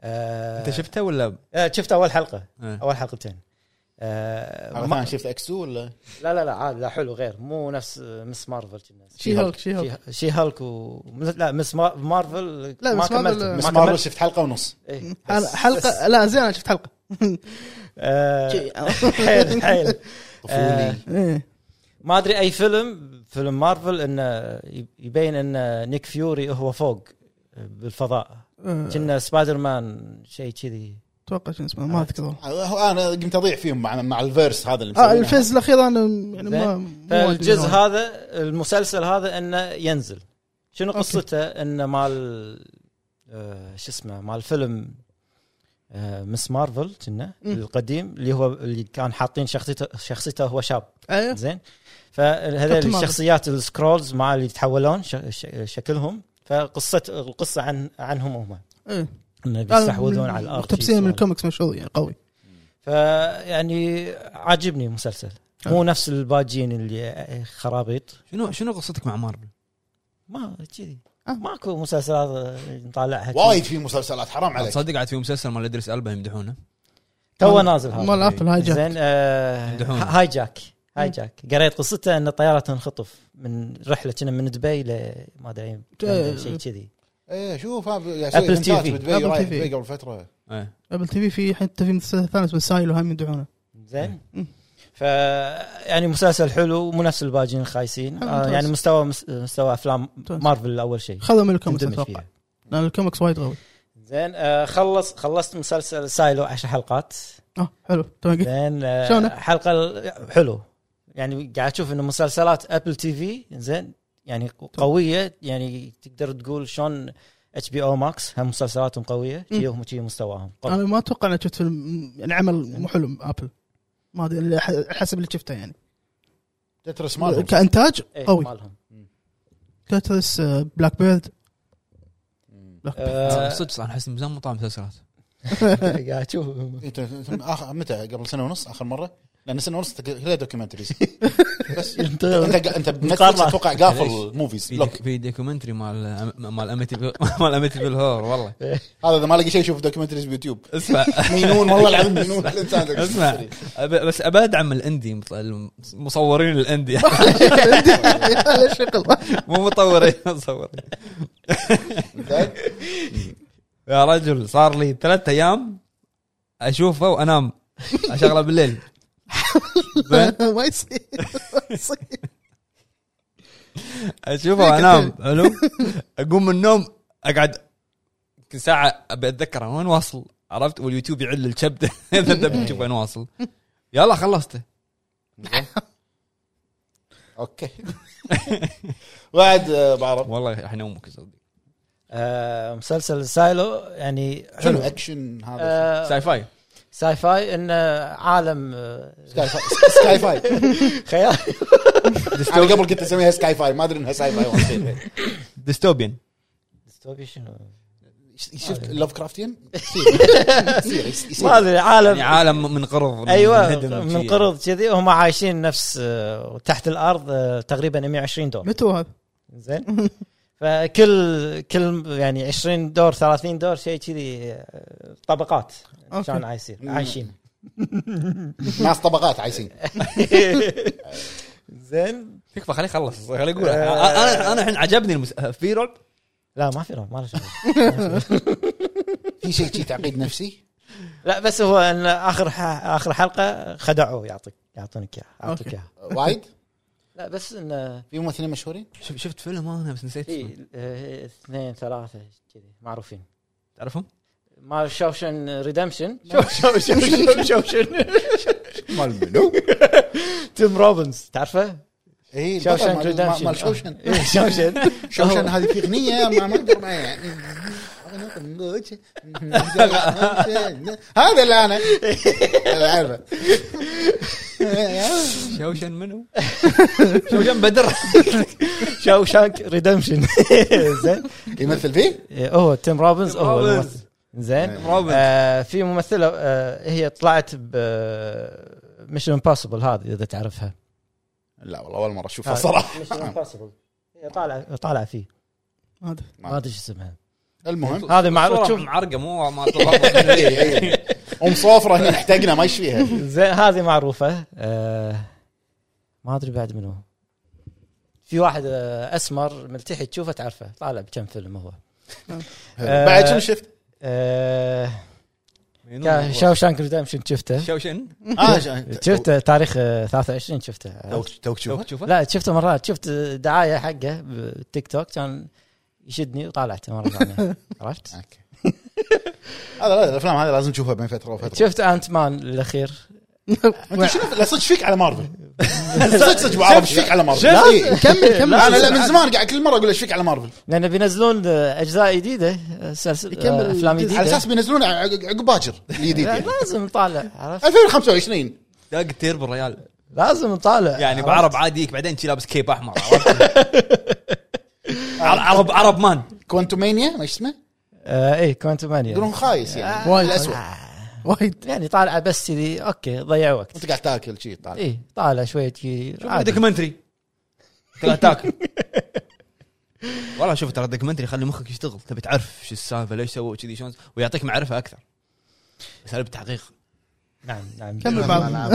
D: آه
A: انت شفته ولا
D: آه، شفت اول حلقه
A: إيه.
D: اول حلقتين آه
C: انا
D: ما-
C: شفت اكس 2 ولا
D: لا لا لا عادي لا حلو غير مو نفس آه، مس مارفل كنا.
B: شي هالك شي هالك
D: شي- شي هالك و لا مس ما- مارفل
B: لا، آه،
D: ما
B: مس مارفل-
D: كملت
C: مس
D: ما
C: مارفل
D: كملت
C: شفت حلقه ونص
D: إيه،
B: أنا
D: بس- بس-
B: حلقه لا زين انا شفت
C: (laughs)
B: حلقه
D: آه،
B: شي-
C: إيه.
D: حيل حيل آه،
B: إيه.
D: ما ادري اي فيلم فيلم مارفل انه يبين ان نيك فيوري هو فوق بالفضاء
B: آه،
D: كنا سبايدر مان شيء كذي
B: اتوقع شنو اسمه ما اذكر والله.
C: هو انا قمت اضيع فيهم مع مع الفيرس هذا اللي
B: اه
C: مسوينه.
B: الفيز الاخير انا يعني ما مو واجد
D: فالجزء
B: منه.
D: هذا المسلسل هذا انه ينزل شنو
B: أوكي.
D: قصته انه مال آه، شو اسمه مال فيلم آه، مس مارفل كنا
B: مم.
D: القديم اللي هو اللي كان حاطين شخصيته شخصيته هو شاب
B: ايوه
D: زين
B: كابتن
D: فهذول
B: مارفل.
D: الشخصيات السكرولز مع اللي يتحولون ش- ش- شكلهم فقصه القصه عن عنهم هم
B: إيه.
D: انه بيستحوذون على الارض
B: تبسير من
D: شيء
B: الكوميكس مشهور يعني قوي
D: فيعني عاجبني المسلسل مو نفس الباجين اللي خرابيط
A: شنو شنو قصتك مع مارفل؟
D: ما كذي
B: آه.
D: ماكو مسلسلات نطالعها
C: وايد في مسلسلات حرام عليك
A: تصدق عاد في مسلسل مال ادريس البا يمدحونه
D: تو
B: مال-
D: نازل هذا
B: مال ابل هاي جاك
D: زين آه،
A: يمدحون.
D: هاي جاك هاي جاك قريت قصته ان الطياره تنخطف من رحله كنا من دبي ل ما ادري
B: جا-
D: شيء كذي
C: ايه شوف ابل
D: Apple TV.
C: بدبي
B: Apple
C: رايح
B: TV.
C: دبي قبل فتره
A: إيه.
B: ابل تي في في حتى في مسلسل ثاني اسمه سايل وهم يدعونه
D: زين
B: مم.
D: ف يعني مسلسل حلو مو نفس الباجين الخايسين
B: حلو،
D: آه،
B: ممتاز.
D: يعني مستوى مس- مستوى افلام
B: ممتاز.
D: مارفل اول شيء
B: خذوا من الكوميكس
D: تندمج
B: اتوقع
D: فيها
B: لان الكوميكس وايد قوي
D: زين آه، خلص خلصت مسلسل سايلو 10 حلقات
B: اه حلو تمام قلت.
D: زين آه،
B: شلونه؟
D: حلقه ال- حلو يعني قاعد اشوف انه مسلسلات ابل تي في زين يعني قويه يعني تقدر تقول شلون اتش بي او ماكس هم مسلسلاتهم قويه
B: مم.
D: شي هم شي مستواهم قوي.
B: انا ما اتوقع اني شفت فيلم يعني عمل مو حلو من ابل ما ادري اللي ح- حسب اللي شفته يعني
C: تترس مالهم
B: كانتاج
D: إيه،
B: قوي
D: مالهم (laughs)
B: تترس آه، بلاك بيرد بلاك (laughs)
D: آه،
A: صدق صح احس ميزان مو طالع مسلسلات
D: قاعد اشوف
C: انت أنت آخر متى قبل سنه ونص اخر مره لان سنه ونص تك- كلها
D: (laughs)
C: دوكيومنتريز بس انت انت بنتفلكس
D: مقارنة.
C: اتوقع قافل
A: ليش؟
C: موفيز
A: في
C: لوك
A: في دوكيومنتري مال مال اميتي (laughs) مال اميتي بالهور والله
C: هذا اذا ما لقى شيء يشوف دوكيومنتريز بيوتيوب (laughs)
A: اسمع
C: مينون والله العظيم مينون الانسان
A: اسمع أب- بس ابى ادعم الاندي مط- المصورين الاندي
B: ليش شغل
A: (laughs) مو مطورين مصورين
C: زين؟
A: يا رجل صار لي ثلاثة ايام اشوفه وانام اشغله بالليل زين؟
B: (laughs) ما يصير ما يصير.
A: اشوفه وانام حلو اقوم من النوم اقعد يمكن ساعه ابي اتذكر أنا وين واصل عرفت واليوتيوب يعل (laughs) الكبده اذا انت بتشوف وين واصل يلا خلصته
C: اوكي وعد آه، بعرف
A: والله راح ينومك صدق
D: آه مسلسل سايلو يعني
C: حلو
D: حلو
C: اكشن هذا
D: آه
A: ساي فاي
D: ساي فاي انه عالم آه،
C: سكاي (laughs) فاي سكاي فاي
D: خيال
C: انا قبل كنت اسميها سكاي فاي ما ادري انها ساي فاي وأنا صغير.
A: ديستوبيان
D: ديستوبيا شنو؟
C: شفت لوف كرافتيان
D: آه. (laughs) ما ادري عالم
A: يعني عالم منقرض
D: ايوه
A: منهدم
D: من
A: شي.
D: قرض كذي وهم عايشين نفس آه، تحت الارض آه، تقريبا 120 دور
B: متى هذا؟
D: زين فكل كل يعني 20 دور 30 دور شيء كذي آه، طبقات
B: أوكي.
D: شلون عايشين
B: (laughs)
D: عايشين
C: ناس طبقات عايشين
D: زين
A: تكفى خليه يخلص خليه يقول
D: آه.
A: انا انا الحين عجبني المس... في رعب
D: لا ما في رعب ما له شغل
C: في شيء شي تعقيد نفسي
D: لا بس هو ان اخر ح... اخر حلقه خدعوه يعطيك يعطونك اياه اعطوك
B: أوكي.
D: اياها
C: وايد
D: لا بس انه
C: في ممثلين مشهورين
A: شف- شفت فيلم انا بس نسيت اسمه.
D: في آه، اثنين ثلاثه كذي معروفين
A: تعرفهم؟
D: مال شوشن ريدمشن
C: مال منو؟
D: تيم روبنز (laughs) تعرفه؟
C: اي
D: شوشن
C: إيه، مال
D: ريدمشن
C: مال شوشن
D: شوشن
C: شوشن هذه في اغنيه ما ما اقدر معها يعني هذا اللي انا اللي عارفه
A: شوشن
D: (laughs)
A: منو؟ شوشن بدر
D: شوشانك ريدمشن (laughs) زين
C: يمثل فيه؟
D: إيه، هو تيم روبنز
A: تيم
D: هو
A: روبنز.
D: الممثل. زين
C: تيم
A: روبنز.
D: آه، في ممثله آه، هي طلعت ب ميشن امبوسيبل هذه اذا تعرفها
C: لا والله اول مره اشوفها صراحه
D: ميشن امبوسيبل هي طالعه طالعه فيه
B: هذا
D: ما ادري شو اسمها
C: المهم إيه،
D: هذه معروف
A: صورة
D: شوف
A: معرقه مو ما
D: (laughs)
C: ام صوفره هنا احتقنا ما يشفيها
D: زين هذه معروفه آه، ما ادري بعد منو في واحد آه، اسمر ملتحي تشوفه تعرفه طالع بكم فيلم هو
C: بعد شنو شفت؟
D: آه،
A: منو؟
D: شاوشانك ريدمشن شفته
A: شوشن
C: اه شا-
D: شفته تاريخ آه، 23 شفته
C: توك توك شوف
A: شوف شوفه
D: لا شفته مرات شفت دعايه حقه بالتيك توك كان يشدني وطالعته مره ثانيه عرفت؟
C: أوكي. (laughs) هذا لا الافلام هذه لازم تشوفها بين فتره وفتره
D: شفت انت مان الاخير
C: انت شنو لا صدق فيك على مارفل صدق صدق بعرف ايش فيك على مارفل لا، إيه.
B: (laughs) كمل كمل
C: لا انا لا من زمان قاعد كل مره اقول ايش فيك على مارفل
D: لان بينزلون آه، اجزاء جديده آه، سلسل
B: يكمل
D: آه، افلام
B: الجزء
C: على
D: جديده
C: اساس بينزلون عق- عقب باكر الجديد
D: لا، (laughs)
C: يعني.
D: لازم نطالع عرفت؟
C: 2025
A: داق تير بالريال
D: لازم نطالع
A: يعني
D: عرفت؟
A: بعرب عادي يجيك بعدين شي لابس كيب
D: (laughs)
A: احمر عرفت؟ عر- عرب عرب مان
C: كوانتومانيا ما إيش اسمه
D: آه، ايه كوانتم
C: يقولون
D: مانيا
C: خايس يعني
B: وايد.
C: الاسود
B: وايد
D: يعني طالعه بس كذي اوكي ضيع وقت
C: وانت قاعد تاكل شيء طالع
D: ايه طالع شويه شي عادي.
A: دوكيومنتري ترى
D: (laughs)
A: تاكل والله شوف ترى الدوكيومنتري يخلي مخك يشتغل تبي تعرف شو السالفه ليش سووا كذي شلون ويعطيك معرفه اكثر اساليب
D: (laughs)
A: تحقيق
D: نعم نعم
B: كمل بعض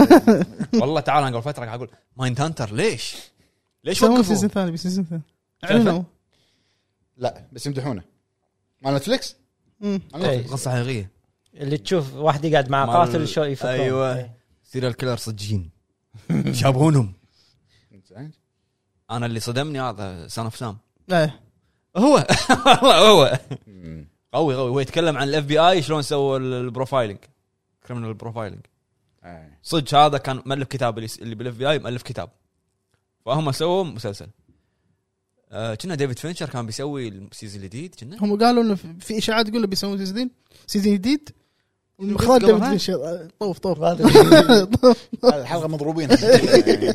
A: والله تعال انا قبل فتره قاعد اقول مايند هانتر ليش؟ ليش
B: يسوون سيزون
A: وقفوا؟
B: ثاني بسيزون ثاني
A: تعرفه؟
B: اعلنوا
C: لا بس يمدحونه مال نتفلكس
B: مم.
C: على نتفلكس.
A: قصه حقيقيه
D: اللي تشوف واحد يقعد مع
A: مال-
D: قاتل شو يفكرون
A: أيوة.
D: إيه.
A: سيريال كيلر صجين شابونهم
C: زين.
A: انا اللي صدمني هذا سان اوف سام
B: لا
A: هو (laughs) والله هو
C: مم.
A: قوي قوي هو يتكلم عن الاف بي اي شلون سووا ال- البروفايلينج كريمنال بروفايلينج
C: إيه.
A: صدق هذا كان مؤلف كتاب اللي, اللي بالاف بي اي مؤلف كتاب فهم سووا مسلسل آه، كنا ديفيد فينشر كان بيسوي السيزون الجديد كنا
B: هم قالوا انه في- في اشاعات تقول انه بيسوون سيزون سيزون جديد والمخرج
A: قبل
B: ديفيد
A: هاي؟
B: فينشر. طوف طوف طوف.
C: هذه الحلقه مضروبين (laughs) يعني.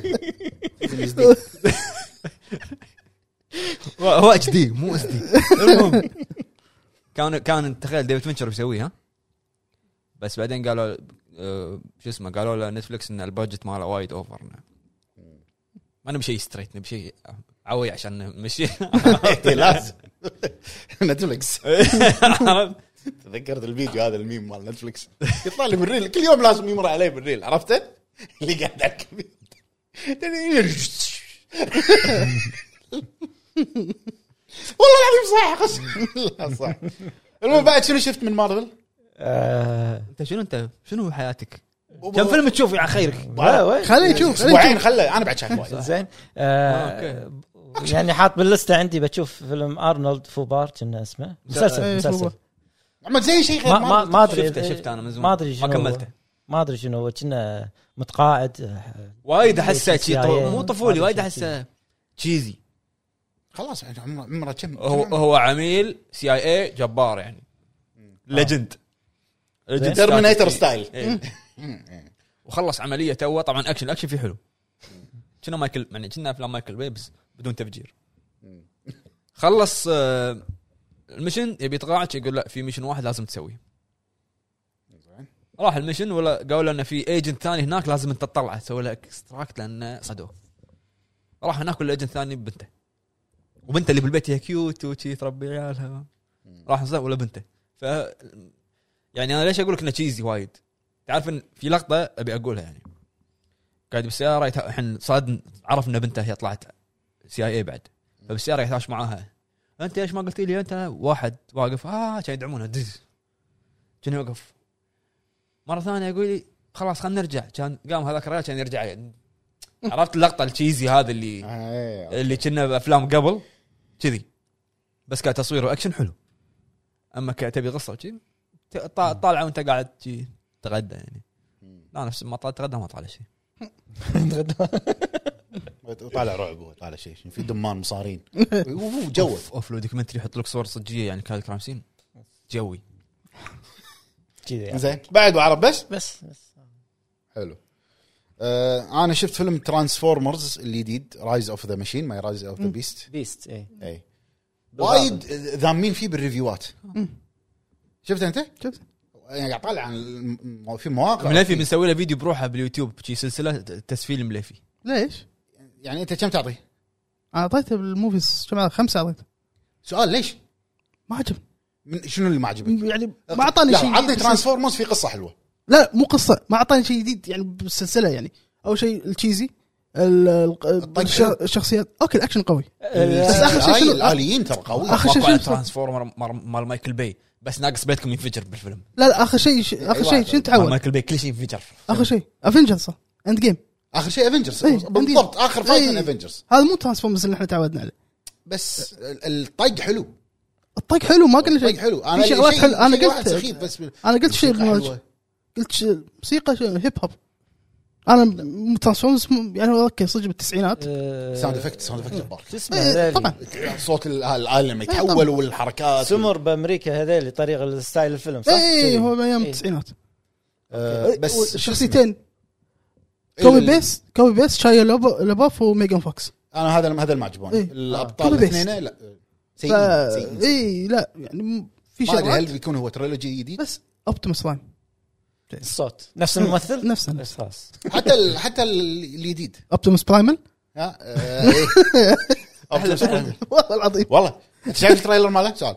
A: هو اتش دي مو (laughs) اس دي المهم كان كان تخيل ديفيد فينشر بيسويه ها بس بعدين قالوا آه، شو اسمه قالوا له نتفلكس ان البادجت ماله وايد اوفر ما نبي شيء ستريت نبي شيء عوي عشان نمشي
C: إيه، (laughs) لازم نتفلكس
A: عرفت؟
C: تذكرت الفيديو هذا الميم مال نتفلكس يطلع لي بالريل كل يوم لازم يمر علي بالريل عرفته؟ اللي قاعد على الكمبيوتر والله العظيم صح قسم بالله صح المهم بعد شنو شفت من مارفل؟
D: آه،
A: انت شنو انت شنو حياتك؟ كم فيلم تشوف على خيرك؟
D: لا، وين؟
B: خليه
C: يعني
B: يشوف خليه
C: اسبوعين
B: يشوف
C: خله انا بعد شايف وايد
D: زين
A: آه،
D: آه، يعني حاط باللسته عندي بشوف فيلم ارنولد فوبار كنا اسمه مسلسل
B: إيه،
D: مسلسل
B: فوبار.
C: عمد زي شيء غير
D: ما ما
C: مارفل
D: ما ادري
A: شفته
D: إذا-
A: شفته انا من زمان
D: ما ادري
A: ما
D: شنو هو.
A: كملته
D: ما ادري شنو هو كنا متقاعد آه،
A: وايد احسه إيه، شي
D: CIA.
A: طو- مو طفولي
D: هذا
A: وايد
D: شي
A: احسه تشيزي
C: خلاص يعني عمره عمره كم
A: هو
C: كم عمره؟
A: هو عميل سي اي اي جبار يعني ليجند
C: ترمينيتر ستايل
A: إيه. وخلص عمليه توه طبعا اكشن الاكشن فيه حلو كنا مايكل يعني كنا افلام مايكل بي بس بدون تفجير خلص آه، المشن يبي يتقاعد يقول لا في مشن واحد لازم تسويه
C: زين.
A: راح المشن ولا قالوا له انه في ايجنت ثاني هناك لازم انت تطلعه تسوي له اكستراكت لانه صدوه راح هناك ولا ايجنت ثاني بنته وبنته اللي بالبيت هي كيوت وشي تربي عيالها راح نصير ولا بنته ف يعني انا ليش اقول لك انه تشيزي وايد تعرف ان في لقطه ابي اقولها يعني قاعد بالسياره يتها- الحين صاد عرف ان بنته هي طلعت سي اي اي بعد فبالسياره يتهاوش معاها انت ليش ما قلت لي انت واحد واقف اه كان يدعمونه دز كان يوقف مره ثانيه يقول لي خلاص خلينا نرجع كان قام هذاك الرجال كان يرجع يعني. عرفت اللقطه التشيزي هذه اللي
C: آه،
A: اللي كنا بافلام قبل كذي بس كتصوير واكشن حلو اما كتبي قصه وشي ت- طا- طالعه وانت قاعد شي تغدى يعني لا نفس ما طلعت تغدى ما طالع شيء
C: طالع رعب هو طالع شيء شيء. في دمان
A: (laughs)
C: مصارين أوه، جوه
A: اوف, أوف لو دوكيومنتري يحط لك صور صجيه يعني كان كرامسين جوي
D: كذا يعني
C: زين بعد وعرب بس
D: بس بس
C: حلو آه انا شفت فيلم ترانسفورمرز الجديد رايز اوف ذا ماشين ماي رايز اوف ذا بيست
D: بيست اي
C: اي وايد ذامين فيه بالريفيوات شفت انت؟
B: شفت
C: يعني قاعد طالع عن الم- في مواقع
A: مليفي بنسوي له فيديو بروحه باليوتيوب شي سلسله تسفيل مليفي
B: ليش؟
C: يعني انت كم تعطي؟
B: انا اعطيته بالموفيز كم أعطيته؟ خمسه اعطيته
C: سؤال ليش؟
B: ما عجبني
C: من شنو اللي ما عجبك؟
B: يعني ما اعطاني
C: لا،
B: شيء
C: عطني
B: جديد.
C: ترانسفورمرز في قصه حلوه
B: لا مو قصه ما اعطاني شيء جديد يعني بالسلسله يعني اول شيء التشيزي ال- ال- الش- الشخصيات اوكي الاكشن قوي (laughs) بس آخر شيء
C: هاي
B: شنو؟
C: الاليين ترى قوي
B: آخر شيء
A: واقع
B: شنو-
A: ترانسفورمر مر- مال مايكل باي بس ناقص بيتكم ينفجر بالفيلم
B: لا لا اخر شيء ش- اخر
C: أي
B: شيء
C: واحد.
B: شنو
A: مال
B: تعود؟
A: مايكل باي كل شيء ينفجر
B: اخر شيء افنجرز صح اند جيم
C: اخر شيء افنجرز
B: إيه، عندي.
C: بالضبط اخر فايت من
B: إيه.
C: افنجرز
B: هذا مو ترانسفورمرز اللي احنا تعودنا عليه
C: بس ال- الطق حلو
B: الطق حلو ما قلنا
C: الطق
B: شيء
C: حلو
B: في
C: اللي
B: شغلات
C: شيء-
B: حلو. أنا
C: شيء واحد
B: قلت-
C: سخيف بس بال-
B: انا قلت شيء
C: موسيقى
B: بالمواجهة.
C: حلوة.
B: قلت ش- موسيقى ش- هيب هوب انا ترانسفورمرز يعني اوكي صدق بالتسعينات
C: ساوند افكت ساوند افكت جبار
D: آه، شو اسمه
B: إيه،
D: هذيل؟
B: طبعا
C: صوت ال- العالم لما
B: طبعاً.
C: يتحول والحركات
D: سمر بامريكا هذيل طريقه الستايل الفيلم صح؟
B: اي هو من ايام
D: إيه.
B: التسعينات إيه،
C: آه، بس
B: شخصيتين
C: إيه،
B: كوبي
C: ال-
B: بيس كوبي بيس شايا لوب- لوبوف وميجان فوكس
C: انا هذا هذا اللي ما عجبوني
B: إيه.
C: الابطال
B: كوبي بيست.
C: الاثنين لا
B: ف... إيه،
C: سيئين سيئين
B: اي لا يعني م- في
C: ما ادري هل
B: شغلات
C: بيكون هو تريلوجي جديد
B: بس اوبتيموس رايم
D: الصوت نفس الممثل؟
B: نفسه، نفسه.
D: بس خلاص
C: حتى ال... حتى ال- الجديد
B: اوبتيموس برايمل
C: ها آه، إيه. أبطال.
B: (laughs) والله العظيم
C: والله انت شايف التريلر ماله سؤال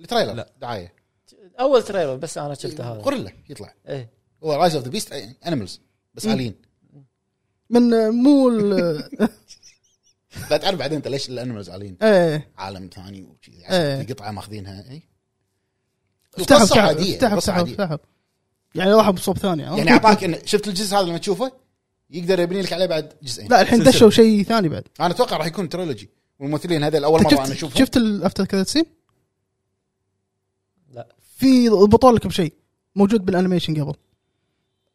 C: التريلر
A: لا.
C: لا دعايه
D: اول تريلر بس انا شفته هذا
C: غوريلا يطلع
D: ايه
C: هو رايز اوف ذا بيست انيمالز إيه، بس
B: إيه.
C: الين
B: من مو ال-
C: لا تعرف بعدين انت ليش الانيمالز الين
B: ايه
C: عالم ثاني وشي
B: إيه.
C: عشان في قطعه ماخذينها اي
B: افتحوا
C: قصة
B: افتحوا
C: عادية،
B: افتحوا
C: قصة
B: افتحوا
C: عادية.
B: افتحوا يعني راحوا بصوب ثاني
C: يعني اعطاك إن شفت الجزء هذا لما تشوفه يقدر يبني لك عليه بعد جزئين
B: لا الحين
A: سلسلة.
B: دشوا شيء ثاني بعد
C: انا اتوقع راح يكون تريلوجي والممثلين هذا اول مره انا
B: شفت
C: اشوفهم
B: شفت الافتر كريدت سين؟
D: لا.
B: في ضبطوا لك بشيء موجود بالانيميشن قبل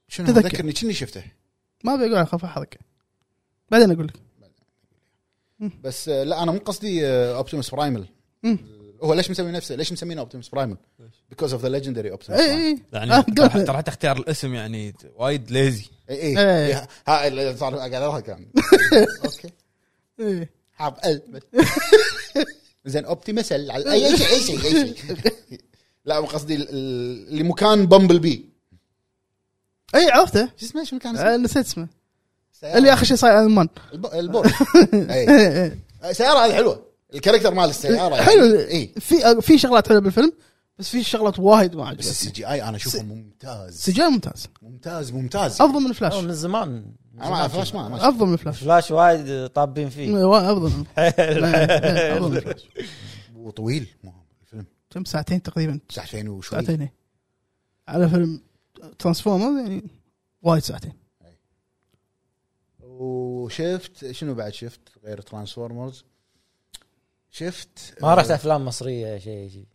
C: شنو
B: تذكر.
C: تذكرني كني شفته
B: ما بقول اخاف احرق بعدين اقول لك
C: بس آه، لا انا مو قصدي اوبتيموس برايمل
B: مم.
C: هو ليش مسوي نفسه ليش مسمينه اوبتيموس برايمل بيكوز اوف ذا ليجندري اوبتيموس
B: اي اي
A: يعني
B: آه،
A: ترى
B: قول.
A: ترى حتى اختيار الاسم يعني وايد ليزي
C: اي
B: إيه.
C: اي ها اللي صار قاعد
B: (laughs)
C: اضحك يعني اوكي
B: إيه.
C: حاب (laughs) قلب زين اوبتيموس ال- على اي أي شيء اي شيء اي شيء (laughs) لا مو قصدي ال- ال- اللي مكان بامبل بي
B: اي إيه، عرفته
C: شو اسمه شو مكان اسمه؟
B: آه، نسيت اسمه
C: السيارة.
B: اللي اخر شيء صاير على المان
C: الب-
B: (laughs)
C: البورد إي.
B: إيه، إيه.
C: السياره هذه حلوه الكاركتر مال السياره يعني.
B: حلو
C: اي
B: في آه، في شغلات حلوه بالفيلم بس في شغلات وايد ما
C: بس
B: عجبتني
C: السي جي اي انا اشوفه ممتاز
B: سجال ممتاز
C: ممتاز ممتاز
B: افضل من
D: هو
B: فلاش
D: من زمان
C: انا ما اعرف ليش ما ما-
B: افضل من فلاش
D: فلاش وايد طابين فيه
B: افضل من
C: (laughs)
B: إيه، أفضل من
D: حيل.
B: فلاش
C: وطويل مو- الفيلم
B: كم ساعتين تقريبا
C: ساعتين وشوي
B: ساعتين إيه. على فيلم ترانسفورمر يعني وايد
C: (laughs)
B: ساعتين
C: وشفت شنو بعد شفت غير ترانسفورمرز شفت
D: ما رحت افلام مصريه شيء شيء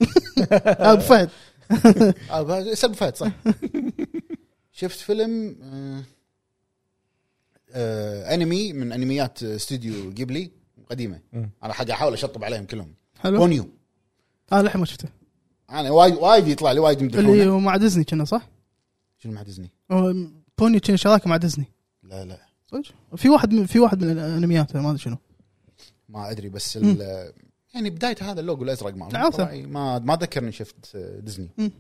B: آه، ابو فهد
C: آه، سلب فات صح شفت فيلم آه آه انمي من انميات استوديو جيبلي قديمه
D: مم.
C: انا حق احاول اشطب عليهم كلهم
B: حلو
C: بونيو
B: انا للحين ما شفته
C: انا وايد وايد يطلع لي وايد
B: اللي
C: يمدحونه
B: هو مع ديزني كنا صح؟
C: شنو مع ديزني
B: هو بوني كان شراكه مع ديزني
C: لا لا
B: صدق في واحد من في واحد من الانميات أنا ما ادري شنو
C: ما ادري بس ال- يعني بدايه هذا اللوجو الازرق معه
B: عارفه.
C: طبعاً يعني ما ما ذكرني شفت آه، ديزني
B: مم.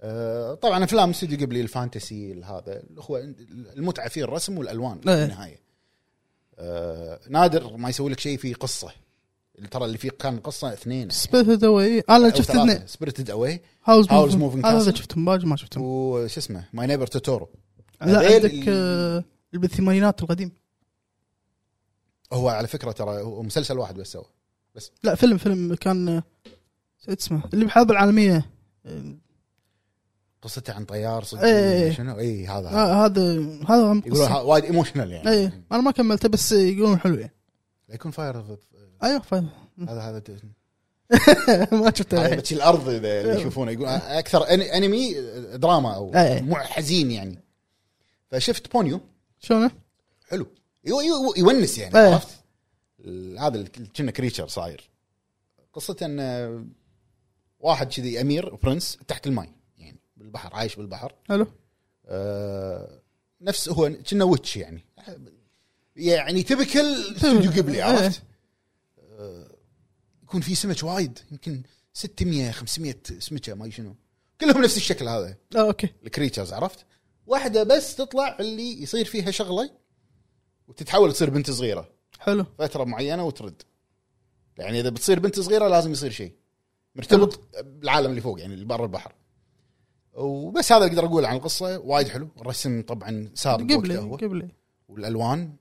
C: آه، طبعا افلام استوديو قبلي الفانتسي هذا الاخوه المتعه فيه الرسم والالوان في
B: إيه.
C: النهايه آه، نادر ما يسوي لك شيء فيه قصه اللي ترى اللي فيه كان قصه اثنين
B: سبيريتد اواي انا إيه. آه، شفت اثنين
C: سبيرتد اواي Howl's
B: هاوز
C: Moving
B: موفينج هذا
C: Castle.
B: شفتهم باقي آه، ما شفتهم
C: وش اسمه ماي نيبر توتورو
B: لا
C: هذيل
B: عندك
C: ال-
B: آه، اللي بالثمانينات القديم
C: هو على فكره ترى هو مسلسل واحد بس سوى
B: لا فيلم فيلم كان آه، شو اسمه اللي بالحرب العالميه آه،
C: قصته عن طيار صدق
B: إيه.
C: شنو اي هذا هذا.
B: آه، هذا هذا هم
C: يقولون
B: قصة. إيه.
C: ها- وايد ايموشنال يعني
B: اي انا ما كملته بس يقولون حلو يعني
C: لا يكون فاير هذا
B: ايوه فاهم
C: هذا
B: (laughs) ما شفته
C: هذا
B: الحين.
C: بتشي الارض اذا اللي يشوفونه يقول اكثر أني- انمي دراما او
B: إيه.
C: مو حزين يعني فشفت بونيو
B: شلونه؟
C: حلو يو يو يونس يعني
B: إيه.
C: عرفت ال- هذا اللي كنا كريتشر صاير قصته ان آه، واحد كذي امير برنس تحت الماي يعني بالبحر عايش بالبحر
B: حلو
C: آه، نفس هو كنا ويتش يعني يعني تبكل استوديو قبلي عرفت؟ آه، يكون في سمك وايد يمكن 600 500 سمكه ما أدري شنو كلهم نفس الشكل هذا
B: اه اوكي
C: الكريتشرز عرفت؟ واحده بس تطلع اللي يصير فيها شغله وتتحول تصير بنت صغيره
B: حلو
C: فتره معينه وترد يعني اذا بتصير بنت صغيره لازم يصير شيء مرتبط بالعالم اللي فوق يعني اللي برا البحر وبس هذا اللي اقدر اقوله عن القصه وايد حلو الرسم طبعا سابق
B: قبلي
C: وقته هو
B: قبلي
C: والالوان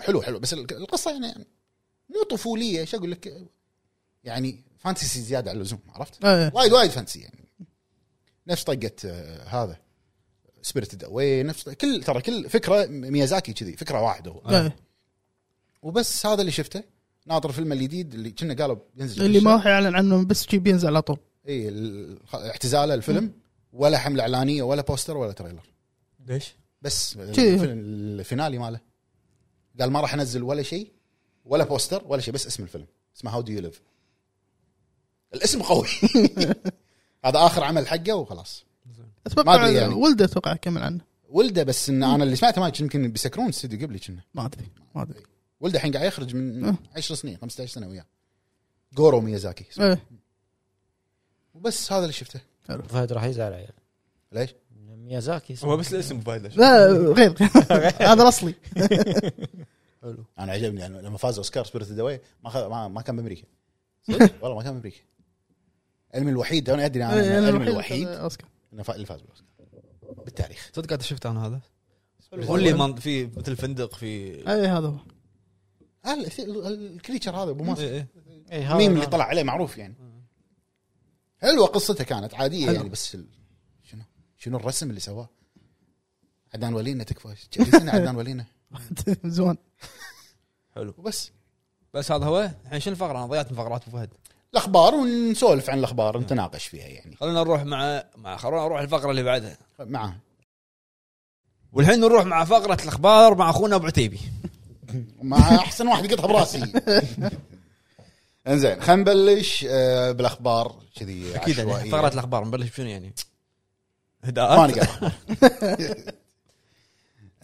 C: حلو حلو بس ال- القصه يعني مو طفوليه شو اقول لك يعني فانتسي زياده على اللزوم عرفت؟
B: ايه
C: وايد وايد فانتسي يعني نفس طقه آه، هذا سبيرتد اواي نفس كل ترى كل فكره ميازاكي كذي فكره واحده هو
B: ايه
C: وبس هذا اللي شفته ناطر فيلم الجديد اللي كنا قالوا بينزل
B: اللي ما راح يعلن عنه بس شي بينزل على طول
C: اي ال- اعتزاله الفيلم ولا حمله اعلانيه ولا بوستر ولا تريلر
A: ليش؟
C: بس
B: شي.
C: الفيلم الفينالي ماله قال ما راح انزل ولا شيء ولا بوستر ولا شيء بس اسم الفيلم اسمه هاو دو يو ليف الاسم قوي
B: (laughs)
C: هذا اخر عمل حقه وخلاص ما
B: اتوقع
C: أدري يعني.
B: ولده اتوقع كمل عنه
C: ولده بس ان انا اللي سمعته ما يمكن بيسكرون استوديو قبلي كنا
B: ما ادري ما
C: (laughs)
B: ادري
C: ولده الحين قاعد يخرج من
B: أه.
C: 10 سنين 15 سنه وياه جورو ميازاكي اسمه.
B: ايه
C: وبس هذا اللي شفته
D: فهد راح يزعل عيال
C: ليش؟
D: ميازاكي
A: هو بس الاسم فايده
B: لا آه،
C: (laughs)
B: غير هذا اصلي
C: يعني انا عجبني يعني لما فاز اوسكار سبيرت دواي ما, خ... ما ما كان بامريكا والله ما كان بامريكا العلم الوحيد انا ادري
B: إيه،
C: انا
B: آه،
C: العلم الوحيد
B: اوسكار
C: انه فا- اللي فاز بالاوسكار بالتاريخ
A: صدق قاعد شفت انا هذا هو اللي من- في مثل فندق في
B: اي آه، هذا هو (laughs)
C: هل ال- ال- الكريتشر هذا ابو ماسك
A: إيه، إيه.
C: ميم اللي طلع عليه معروف يعني حلوه قصته كانت عاديه
B: حلو.
C: يعني بس ال... شنو شنو الرسم اللي سواه عدنان ولينا تكفى جلسنا عدنان ولينا
B: واحد زوان
A: حلو
C: وبس
A: بس هذا هو الحين شنو الفقره انا ضيعت من فقرات ابو فهد
C: الاخبار ونسولف عن الاخبار نتناقش فيها يعني
A: خلينا نروح مع مع خلونا نروح الفقره اللي بعدها
C: معه
A: والحين نروح مع فقره الاخبار مع اخونا ابو عتيبي
C: مع احسن واحد قطها براسي انزين خلينا نبلش آه، بالاخبار كذي
A: اكيد
C: عشوائية.
A: يعني فقره الاخبار نبلش بشنو يعني؟
C: ما
A: هداءات
C: نقدر (laughs)